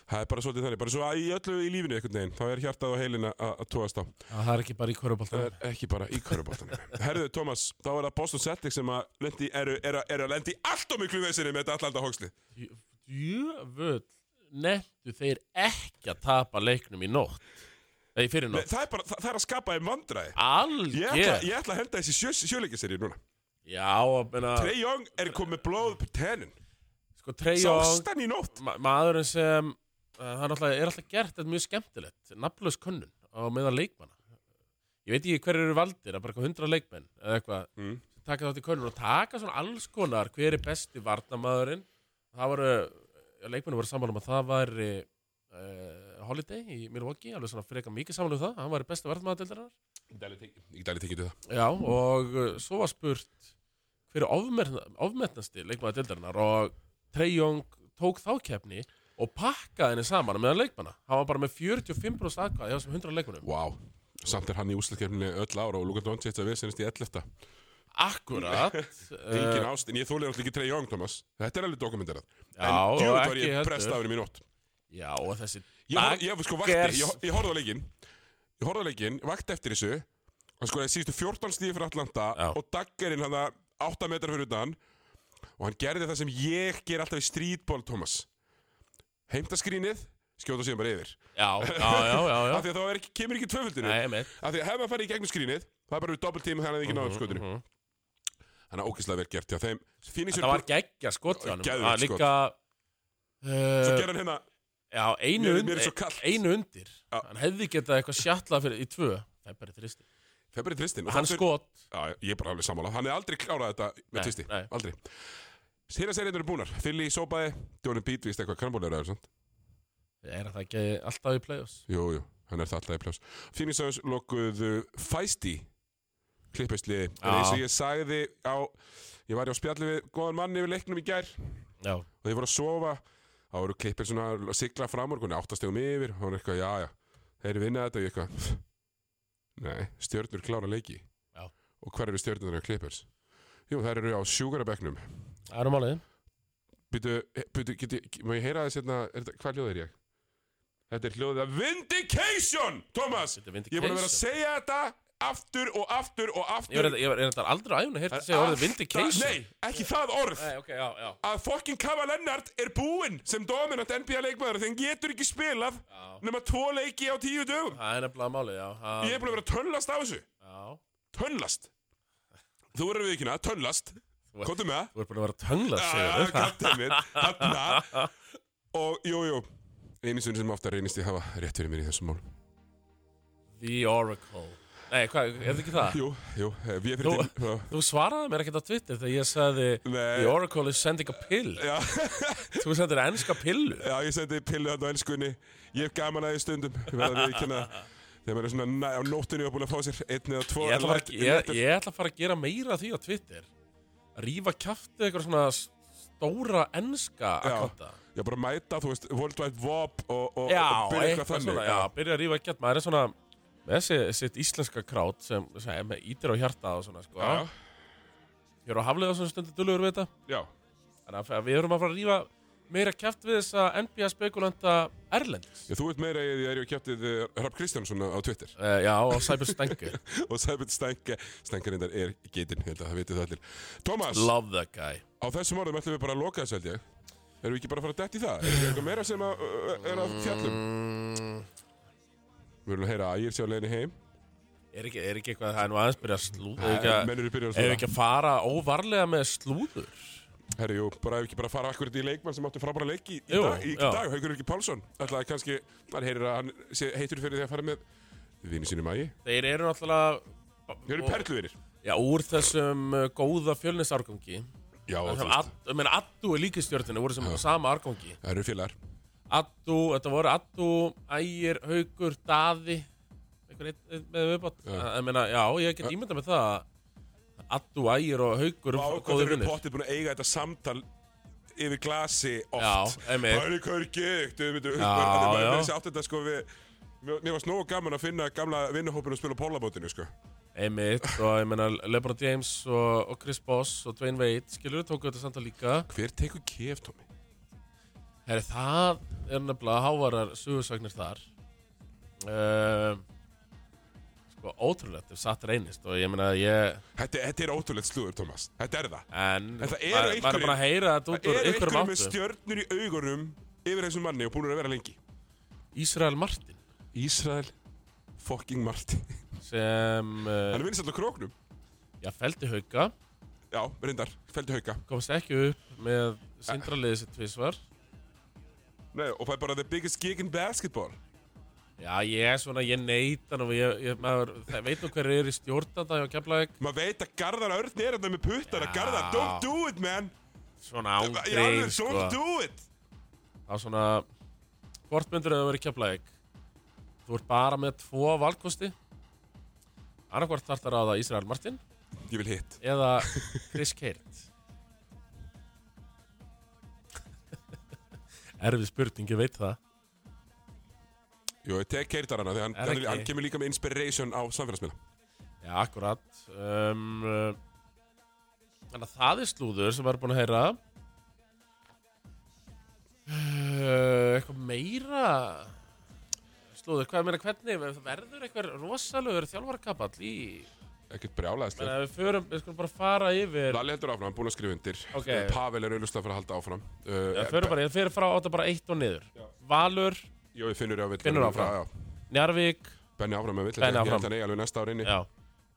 Speaker 1: Það er bara svolítið þannig Bara svo að í öllu í lífinu einhvern veginn Þá er hjartað og heilin að að tókast á
Speaker 2: Það er ekki bara í
Speaker 1: Það
Speaker 2: kvöruboltan
Speaker 1: er ekki bara í körubáttanum. Herðu, Tómas, þá er það Boston Celtics sem að lendi, eru, eru, eru að lendi allt og miklu vesinni með þetta allanda hóksli.
Speaker 2: Jöfull, nefndu þeir ekki að tapa leiknum í nótt Nei, fyrir nótt
Speaker 1: Það er bara, það, það er að skapa þeim vandræði. Ég
Speaker 2: Algjör
Speaker 1: ætla, ég ætla að henda þessi sjö, sjöleikiseri núna.
Speaker 2: Já, að meina,
Speaker 1: Trey Young er komið blóð upp tennin.
Speaker 2: sko Trey Young,
Speaker 1: Sástan í nótt.
Speaker 2: ma maðurinn sem, uh, hann alltaf, er alltaf gert þetta mjög skemmtilegt, nafnlaus kunnun á meðan leikmanna. Ég veit ekki hverju eru valdir, að bara eitthvað hundra leikmenn eða eitthvað,
Speaker 1: Mm.
Speaker 2: sem taka þátt í kunnun og taka svona alls konar hver er besti varnamaðurinn. Það voru, já, leikmennu voru sammála um að það væri uh, Holiday í Milwaukee, alveg svona frekar mikið sammála um það, hann væri besti varnamaðurinn.
Speaker 1: Ég dæli tekið til það.
Speaker 2: Já, og uh, svo var spurt hver er ofmerna- ofmetnasti leikmaður dildarinnar og Trey Young tók þá keppni og pakkaði henni saman meðan leikmanna hann var bara með 45% aðkvæði hjá þessum 100 leikmannum
Speaker 1: Vá, samt er hann í úslutkefninni öll ára og Luka Doncic að viðsynast í 11.
Speaker 2: Akkurat
Speaker 1: Engin
Speaker 2: uh,
Speaker 1: ást, en ég þólir alltaf ekki Trey Young, Thomas. Þetta er alveg dokumenterað.
Speaker 2: Já, og
Speaker 1: en djúið var
Speaker 2: ekki
Speaker 1: ég
Speaker 2: heldur.
Speaker 1: prestaðurinn mín ótt.
Speaker 2: Já og þessi
Speaker 1: Ég, hor- ég sko vakti,
Speaker 2: Daggers.
Speaker 1: ég, ég horfði á leikinn Ég horfði á leikinn, vakti eftir þessu Hann skoði síðustu 14 stíði fyrir Atlanta
Speaker 2: Já.
Speaker 1: Og daggerinn hann að 8 metrar fyrir utan Og hann gerði það sem ég ger alltaf í streetball, Thomas Heimta skrínið, skjóta síðan bara yfir
Speaker 2: Já, já, já, já,
Speaker 1: Af
Speaker 2: já.
Speaker 1: því að þá er ekki, kemur ekki tvöföldinu
Speaker 2: Nei, með
Speaker 1: Af því að hefði hann farið í gegnum skrínið Það er bara við doppelt tíma þannig að það ekki náðu skotinu
Speaker 2: Mhm, mhm.
Speaker 1: Þannig að ókislega vel gert hjá þeim Finnir
Speaker 2: Þetta var geggja skot hjá honum.
Speaker 1: Geðveikt
Speaker 2: Það er
Speaker 1: skot.
Speaker 2: líka
Speaker 1: Svo
Speaker 2: uh,
Speaker 1: gerði hann hérna
Speaker 2: Já, einu,
Speaker 1: Mér-
Speaker 2: und, e-
Speaker 1: mér er svo kalt.
Speaker 2: einu undir
Speaker 1: Já.
Speaker 2: Hann hefði getað eitthvað sjatla fyrir í tvö Það er bara tristi
Speaker 1: Það er bara tristin
Speaker 2: Hann skot
Speaker 1: Já, ég er bara alveg sammála. Hann er aldrei klárað þetta
Speaker 2: Nei,
Speaker 1: með tvisti.
Speaker 2: nei.
Speaker 1: Aldrei. Sýra serið eru búnar. Philly sópaði, Jordan Beat víst eitthvað krambólir eða svona.
Speaker 2: Er það ekki alltaf í play-offs?
Speaker 1: Jú, jú, hann er það alltaf í plás. Phoenix Suns lokuðu fæsti klippistliði. En
Speaker 2: Já.
Speaker 1: eins og ég sagði á, ég var í á spjalli við góðan manni við leiknum í gær
Speaker 2: Já,
Speaker 1: og ég voru að sofa. Þá eru klippir svona að sigla fram úr, áttastegum yfir. Hún er eitthvað, já, já, þeir vinna þetta og ég eitthvað. Nei, stjörnur klára leiki.
Speaker 2: Já.
Speaker 1: Og hver eru stjörnurnar og klippers? Jú, þær eru á sjúgarabeknum.
Speaker 2: það eru málið
Speaker 1: Býtu, býtu, geti, má ég heyra þess hérna, er þetta- hvað hljóð er ég? Þetta er hljóðið að Vindication, Thomas!
Speaker 2: Þetta er vindication.
Speaker 1: Ég er búin að vera að segja þetta aftur og aftur og aftur.
Speaker 2: Ég er þetta- ég er þetta aldrei á æfuna að hérta að segja orðið vindication
Speaker 1: Nei, ekki það orð.
Speaker 2: Nei, ok, já, já
Speaker 1: Að fokkin Kava Lennart er búinn sem dominant NBA leikmaður þegar hann getur ekki spilað
Speaker 2: Já.
Speaker 1: nema tvo leiki á tíu dögum.
Speaker 2: Það er nefnilega málið, já Það-
Speaker 1: Ég er búin að vera að tönnlast á þessu.
Speaker 2: Já
Speaker 1: Tönnlast. Þú verður við ekki na, tönnlast.
Speaker 2: Þú-
Speaker 1: Kóttu með það.
Speaker 2: Þú er búin að vera tönglað,
Speaker 1: Ah,
Speaker 2: segir
Speaker 1: God damn it. Þarna Og jú, jú Einu sinni sem ofta reynist ég hafa rétt fyrir mér í þessum mál
Speaker 2: The Oracle Nei, hvað, er þetta ekki það?
Speaker 1: Jú, jú, eh, við
Speaker 2: Þú-
Speaker 1: fyrir til
Speaker 2: Þú svaraði mér ekkert á Twitter þegar ég sagði
Speaker 1: Nei.
Speaker 2: The Oracle is sending a pill
Speaker 1: Já,
Speaker 2: Þú sendir ennska pillu
Speaker 1: já, ég sendi pillu þarna á elskunni Ég hef gaman að því stundum Ég verða að viðkynna Þegar maður er svona næ, á nóttunni og búin að fá sér einn eða tvo
Speaker 2: Ég ætla, að fara,
Speaker 1: læt-
Speaker 2: að- ég,
Speaker 1: lætur-
Speaker 2: ég ætla að fara að gera meira af því á Twitter Að Rífa kjaftið eitthvað svona s- stóra ennska akkanta
Speaker 1: Ég bara mæta, þú veist, World Wide Wop og, og,
Speaker 2: Já,
Speaker 1: og byrja eitthvað
Speaker 2: eitthvað
Speaker 1: þannig
Speaker 2: svona Já, byrja að rífa kjaft Maður er svona með þessi, sitt íslenska krát sem, sem ítir á hjarta og svona sko.
Speaker 1: já,
Speaker 2: Ég er á haflega svona stundu dullugur við þetta
Speaker 1: já,
Speaker 2: Þannig að við erum að fara að rífa meira kjaft við þessa NBA spekulanta Erlendis
Speaker 1: já Þú veit meira í því að ég hef kjöptið Rapp Kristjánsson á Twitter
Speaker 2: uh, Já, og Cyber Stengu
Speaker 1: og Sæbjörn Stænke Stænkarindar er geitin, ég held að það vitið það allir Thomas
Speaker 2: Love that guy
Speaker 1: Á þessum orðum ætlum við bara að loka þessu held ég Erum við ekki bara að fara að detti það? Erum við eitthvað meira sem að, ö, ö, er að fjallum?
Speaker 2: mm,
Speaker 1: Við erum að heyra að ég er sér á leiðinni heim
Speaker 2: er, ekki, er ekki eitthvað það er nú aðeins byrjað slúður
Speaker 1: Menn
Speaker 2: Ef
Speaker 1: eru byrjað að
Speaker 2: við
Speaker 1: svona
Speaker 2: ekki að fara óvarlega með slúður
Speaker 1: Herri, jú, bara ef ekki bara að fara akkurat í leikmann sem átti frábæra leiki í, í
Speaker 2: Jú,
Speaker 1: dag, í
Speaker 2: já.
Speaker 1: dag Haukur Ulgi Pálsson Ætlaði kannski, hann heyrir að hann sé heitur fyrir því að fara með Vini sínum ægi
Speaker 2: Þeir eru náttúrulega
Speaker 1: Þeir eru perluvinir
Speaker 2: Já, úr þessum uh, góða fjölnisárgangi
Speaker 1: Já, þú veist,
Speaker 2: Ég meina, Addu er líkistjörninu voru sem sama árgangi
Speaker 1: það eru félagar
Speaker 2: Addu, þetta voru Addu, Ægir, Haugur, Daði Einhver einn einn með viðbátt Ég meina, já, ég get ímyndað með það að Addu, Ægir og Haugur
Speaker 1: Vá,
Speaker 2: eru
Speaker 1: hvað þeir
Speaker 2: góðir
Speaker 1: eru
Speaker 2: vinnir
Speaker 1: pottið búin að eiga þetta samtal yfir glasi oft
Speaker 2: Já, einmitt.
Speaker 1: Það er hvað er geikt Þau myndu
Speaker 2: Já, já.
Speaker 1: Það er átt þetta sko við Mér mér varst nógu gaman að finna gamla vinnuhópinu að spila á pólabótinu sko
Speaker 2: Einmitt, og ég meina Lebron James og, og Chris Boss og Dwayne Wade Skilur við tóku þetta samtal líka
Speaker 1: Hver tekur kef, Tómi?
Speaker 2: Herri, það er nefnilega hávarar sögursagnir þar uh, Sko, ótrúlegt ef satt reynist og ég meina ég
Speaker 1: Þetta, þetta er ótrúlegt slúður, Tómas Þetta er það
Speaker 2: En
Speaker 1: En það eru
Speaker 2: maður maður
Speaker 1: einhverjir-
Speaker 2: er bara að heyra þetta út
Speaker 1: Það
Speaker 2: úr
Speaker 1: er
Speaker 2: einhverjum
Speaker 1: einhverjum með
Speaker 2: áttu
Speaker 1: stjörnur í augunum yfir þessum manni og búin að vera lengi
Speaker 2: Ísrael Martin
Speaker 1: Ísrael fucking Martin
Speaker 2: sem
Speaker 1: Hann
Speaker 2: uh,
Speaker 1: er vinnst alltaf króknum
Speaker 2: já, feldi hauka
Speaker 1: Já, reyndar, feldi hauka
Speaker 2: komst ekki upp með sindraliðið sitt tvisvar
Speaker 1: Nei, og það er bara the biggest gig in basketball
Speaker 2: Já, ég er svona, ég neytan og ég, ég maður, það- veit nú hver er í stjórnanda hjá Keflavík
Speaker 1: Maður veit að Garðar Örn er þetta með puttana
Speaker 2: Já.
Speaker 1: Garðar, don't do it, man
Speaker 2: Svona
Speaker 1: Í alveg,
Speaker 2: ángrein, sko
Speaker 1: don't do it
Speaker 2: Það er svona Hvort myndur þau að vera í Keflavík? Þú ert bara með tvo valkosti Annarkvart þarf það ráða Ísrael Martin
Speaker 1: Ég vil hitt
Speaker 2: eða Chris Keirt erfið spurning, ég veit það
Speaker 1: Jú, ég tek keirtar hana, þegar hann,
Speaker 2: Er
Speaker 1: hann,
Speaker 2: ekki.
Speaker 1: hann kemur líka með inspiration á samfélagsmiðla.
Speaker 2: Já, akkurat um, uh, Þannig að það er slúður sem var búin að heyra uh, Eitthvað meira Slúður, hvað meira hvernig Það verður eitthvað rosalögur þjálfarkapall í
Speaker 1: Ekkert brjálæðist.
Speaker 2: Þannig að við förum, við skulum bara fara yfir
Speaker 1: Lalli heldur áfram, búin að skrifa undir.
Speaker 2: Ok.
Speaker 1: Pavel er auðvitað fyrir að halda áfram. Uh,
Speaker 2: Það förum bara, ég fyrir frá átta bara eitt og niður Valur,
Speaker 1: Jó, ég finnur ég að vill.
Speaker 2: Finnur áfram.
Speaker 1: Já, já.
Speaker 2: Njarvík,
Speaker 1: Benni áfram með vill.
Speaker 2: Benni
Speaker 1: Ég
Speaker 2: áfram.
Speaker 1: held að neyja alveg næsta ár inni.
Speaker 2: já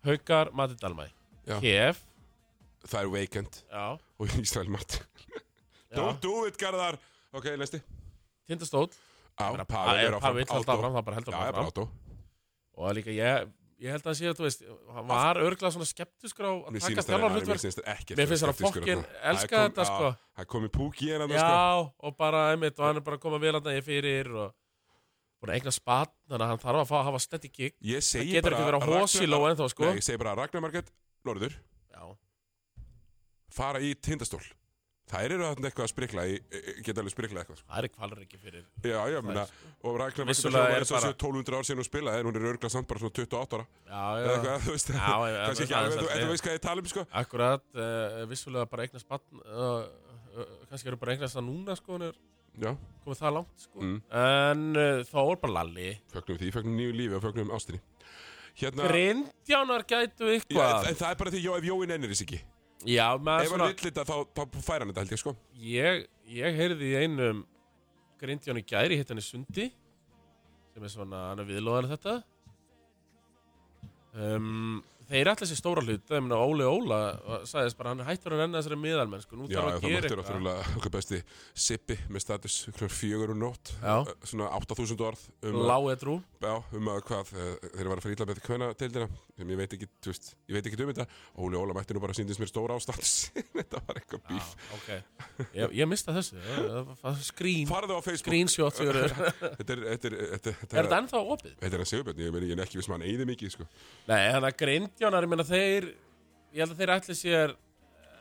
Speaker 2: Haukar, Mati Dalmæ
Speaker 1: Já.
Speaker 2: Kef,
Speaker 1: Það er Weekend
Speaker 2: já,
Speaker 1: og Ísrael Martin.
Speaker 2: já.
Speaker 1: Don't do it, Garðar! Ok, næsti.
Speaker 2: Tindastóll
Speaker 1: Á,
Speaker 2: Bara-
Speaker 1: Pavel er áfram.
Speaker 2: Pavel held
Speaker 1: Átó.
Speaker 2: áfram, það bara heldur
Speaker 1: Já, ég er bara átó.
Speaker 2: og það líka ég, ég held að sé að þú veist hann var örglega svona skeptiskur á að
Speaker 1: Mér
Speaker 2: taka
Speaker 1: sýnist það
Speaker 2: þjálfar
Speaker 1: að mér
Speaker 2: hlutverk
Speaker 1: sýnist það ekkert.
Speaker 2: Mér finnst
Speaker 1: vera
Speaker 2: hann að
Speaker 1: skeptískur
Speaker 2: fokkin
Speaker 1: þarna. Það
Speaker 2: elska
Speaker 1: kom-
Speaker 2: þetta,
Speaker 1: já,
Speaker 2: sko.
Speaker 1: Það komi púk í hennan, sko.
Speaker 2: já og bara einmitt og hann er bara að koma vel að það fyrir og búin að eigna spann þannig að hann þarf að fá, hafa steady gig
Speaker 1: Ég
Speaker 2: það
Speaker 1: segi
Speaker 2: getur
Speaker 1: bara...
Speaker 2: ekki verið að
Speaker 1: Ragnar-
Speaker 2: hósiló ennþá sko
Speaker 1: Nei, ég segi bara Ragnar Margrét, Norður,
Speaker 2: já,
Speaker 1: fara í tindastól. Þær eru þarna eitthvað að sprikla, í- í- geta alveg sprikla eitthvað. sko.
Speaker 2: það er kvalur ekki fyrir
Speaker 1: Já, já, menna,
Speaker 2: sko.
Speaker 1: og Ragnar Margrét
Speaker 2: Vissulega
Speaker 1: hljómar
Speaker 2: er
Speaker 1: eins og
Speaker 2: bara-
Speaker 1: sé 1200 ár síðan hún spilaði, en hún er örgla samt bara svona 28 ára.
Speaker 2: já,
Speaker 1: Eða
Speaker 2: já,
Speaker 1: eitthvað, þú veist,
Speaker 2: já, já,
Speaker 1: kannski ekki
Speaker 2: það er
Speaker 1: alveg,
Speaker 2: satt,
Speaker 1: þú- en
Speaker 2: já.
Speaker 1: þú veist hvað ég tala um, sko.
Speaker 2: akkurat uh, vissulega bara eigna spann uh, uh, kannski eru bara að eignast það núna sko hann er
Speaker 1: Já,
Speaker 2: komið það langt sko
Speaker 1: Mm.
Speaker 2: en uh, þá er bara lalli
Speaker 1: fögnum því, fögnum nýju lífi og fögnum ástinni. Hérna,
Speaker 2: grindjánar gætu
Speaker 1: já,
Speaker 2: eitthvað
Speaker 1: en, en það er bara því, jó, ef Jói nennir þess ekki.
Speaker 2: já, maður
Speaker 1: Ef hann vill þetta, þá, þá fær hann þetta, held ég, sko.
Speaker 2: Ég, ég heyrði í einum Grindjón í gæri, hitt hann í Sundi sem er svona, hann er viðlóðan þetta um, Þeir ætla sér stóra hlut þegar minna Óli Óla var- sagðist bara hann er hættur að renna þessari miðalmennsku nú
Speaker 1: Já, já,
Speaker 2: þarf að
Speaker 1: það
Speaker 2: gera
Speaker 1: mættir
Speaker 2: eitthvað
Speaker 1: náttúrulega okkur besti Sippi með status kl. 4 og nótt
Speaker 2: Já,
Speaker 1: Eh, svona 8000 orð um, að-
Speaker 2: lágetrú
Speaker 1: já, um að hvað eh, þeir var að fara illa með hvena deildina sem ég veit ekki, þú veist, ég veit ekki um þetta Óli Óla mætti nú bara síndist mér stóra á status þetta var eitthvað
Speaker 2: Já,
Speaker 1: bíf
Speaker 2: ok Ég, ég mista þessu, það var- það var skrín
Speaker 1: farðu á Facebook
Speaker 2: Screenshot sem eru-
Speaker 1: þetta er, þetta er, þetta er,
Speaker 2: Er þetta ennþá opið?
Speaker 1: Þetta er hann Sigurbjörn, ég, meni, ég er ekki viss sem hann eyði mikið, sko.
Speaker 2: Nei, þannig að grindjónar, ég meina þeir ég held að þeir ætli sér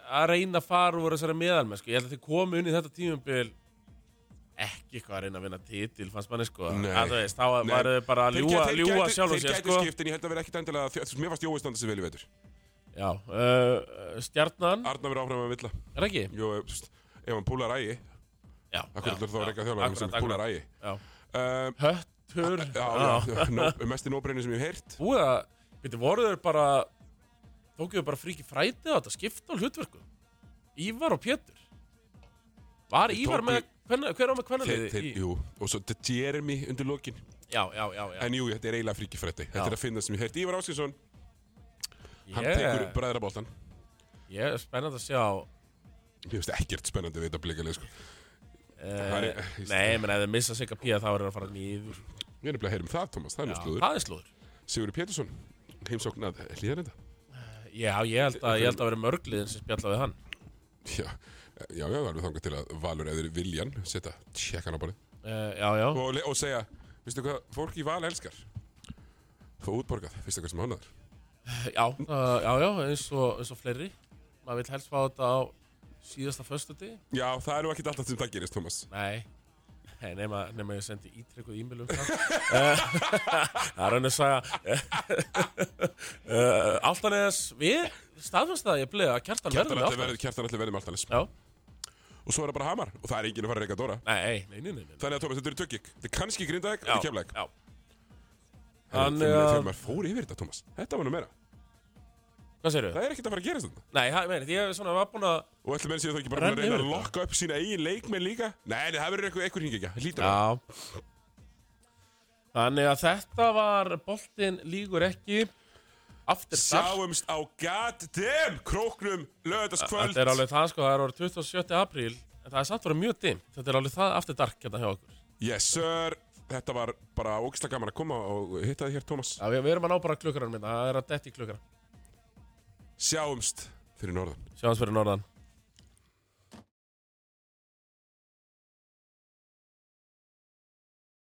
Speaker 2: að reyna að fara úr þessari meðalmennsku ég held að þeir komu inn í þetta tímumbil ekki eitthvað að reyna að vinna titil fannst manni sko
Speaker 1: Nei.
Speaker 2: að, þú veist, þá
Speaker 1: Nei.
Speaker 2: var þau bara að
Speaker 1: Þeir
Speaker 2: ljúa,
Speaker 1: gætu- þeir
Speaker 2: ljúa
Speaker 1: gætu-
Speaker 2: sjálfum
Speaker 1: Þeir
Speaker 2: sér
Speaker 1: gætu
Speaker 2: sko
Speaker 1: skipt, en ég held að vera ekkit endilega, þú veist, mér fannst Jói standa sér vel í vetur.
Speaker 2: Já, uh, stjarnan er
Speaker 1: Arna verið áfram að villa.
Speaker 2: það ekki?
Speaker 1: Jó, eh, þú veist, ef hann púlar ægi,
Speaker 2: Já,
Speaker 1: akkur ætlar þá að reyka þjálfur, hann sem
Speaker 2: akkurat,
Speaker 1: púlar ægi.
Speaker 2: akkurat, já.
Speaker 1: Um,
Speaker 2: Höttur
Speaker 1: Já, já, no, mest í nóbreynir sem ég hef heyrt
Speaker 2: Búið að, veitir, voru þau bara tókuðu bara fríki frætið á þetta skipta á hlutverku Ívar og Pétur Var
Speaker 1: Þeir
Speaker 2: Ívar
Speaker 1: tóku-
Speaker 2: með, hvenna, hver á með
Speaker 1: þeir,
Speaker 2: kvennaliði?
Speaker 1: þeir,
Speaker 2: í-
Speaker 1: Jú, og svo þetta Jeremy undir lokin
Speaker 2: Já, já, já, já.
Speaker 1: En jú, þetta er eiginlega fríki frætti Þetta
Speaker 2: Já.
Speaker 1: er að finna sem ég hef heyrt Ívar Áskinsson, hann
Speaker 2: Ég-
Speaker 1: tekur bræðraboltan
Speaker 2: Ég er spennand að sjá
Speaker 1: Mér finnst ekkert spennandi við þetta blikalega sko. Það
Speaker 2: Uh,
Speaker 1: er-
Speaker 2: nei, menn ef þið missa sig að píða þá er það að fara nýður
Speaker 1: Ég er nefnilega að heyra um það, Thomas, það er nú slúður
Speaker 2: það er slúður
Speaker 1: Sigurður Pétursson, heimsókn að hlýðarenda
Speaker 2: Já, ég held að, ég held að vera mörgliðin sem spjalla við hann
Speaker 1: Já, já, já, alveg þangað til að Valur eður viljan setja tjekkan á borðið
Speaker 2: uh, Já, já,
Speaker 1: og, le- og segja, veistu hvað, fólk í Val elskar Fá útborgað, veistu hvað sem hann aður
Speaker 2: já, uh, já, já, eins og, eins og fleiri Maður vil helst fá þetta á síðasta föstuti
Speaker 1: Já, það er nú ekkert alltaf sem það gerist, Thomas
Speaker 2: Nei, nei nema, nema ég sendi ítrekuð e-mail um það Eh, Það er hann að sagja uh, Altanes, við staðfannst það að ég bleið að kjartan verður
Speaker 1: Kjartan
Speaker 2: með
Speaker 1: ætli
Speaker 2: Altanes
Speaker 1: verði- Kjartan ætli verði með alltaf
Speaker 2: Já,
Speaker 1: og svo er það bara Hamar og það er enginn að fara að reyka Dóra
Speaker 2: nei, nei, nei, nei, nei.
Speaker 1: þannig að Tómas, þetta eru tökik þetta er kannski Grindavík,
Speaker 2: Já, uh,
Speaker 1: þetta er Keflæk
Speaker 2: já. Þannig
Speaker 1: þannig að
Speaker 2: að-
Speaker 1: þegar maður fór yfir þetta Tómas þetta var nú meira
Speaker 2: Hvað segirðu?
Speaker 1: það er ekkert að fara að gerast þetta
Speaker 2: Nei, það- ég meina, ég svona var búin að
Speaker 1: og ætlum menn sér þá ekki bara að
Speaker 2: Renna
Speaker 1: reyna
Speaker 2: yfir
Speaker 1: að
Speaker 2: þetta.
Speaker 1: lokka upp sína eigin leikmenn líka nei, nei, það verður eitthvað einhver hingja hlýtur það
Speaker 2: Já Þannig að þetta var boltinn lígur ekki Aftur þar
Speaker 1: sjáumst á goddamn króknum löðaskvöld
Speaker 2: Þetta er alveg það sko, það er orðið 27. apríl En það er satt voru mjög dimt Þetta er alveg það aftur dark hérna hjá okkur
Speaker 1: yes sir þetta var bara ógislega gaman að koma og hitta þig hér Tómas
Speaker 2: Já, við, við erum að ná bara hérna. klukkaranum minna, það er að detti klukkar
Speaker 1: sjáumst fyrir norðan
Speaker 2: Sjáðans fyrir norðan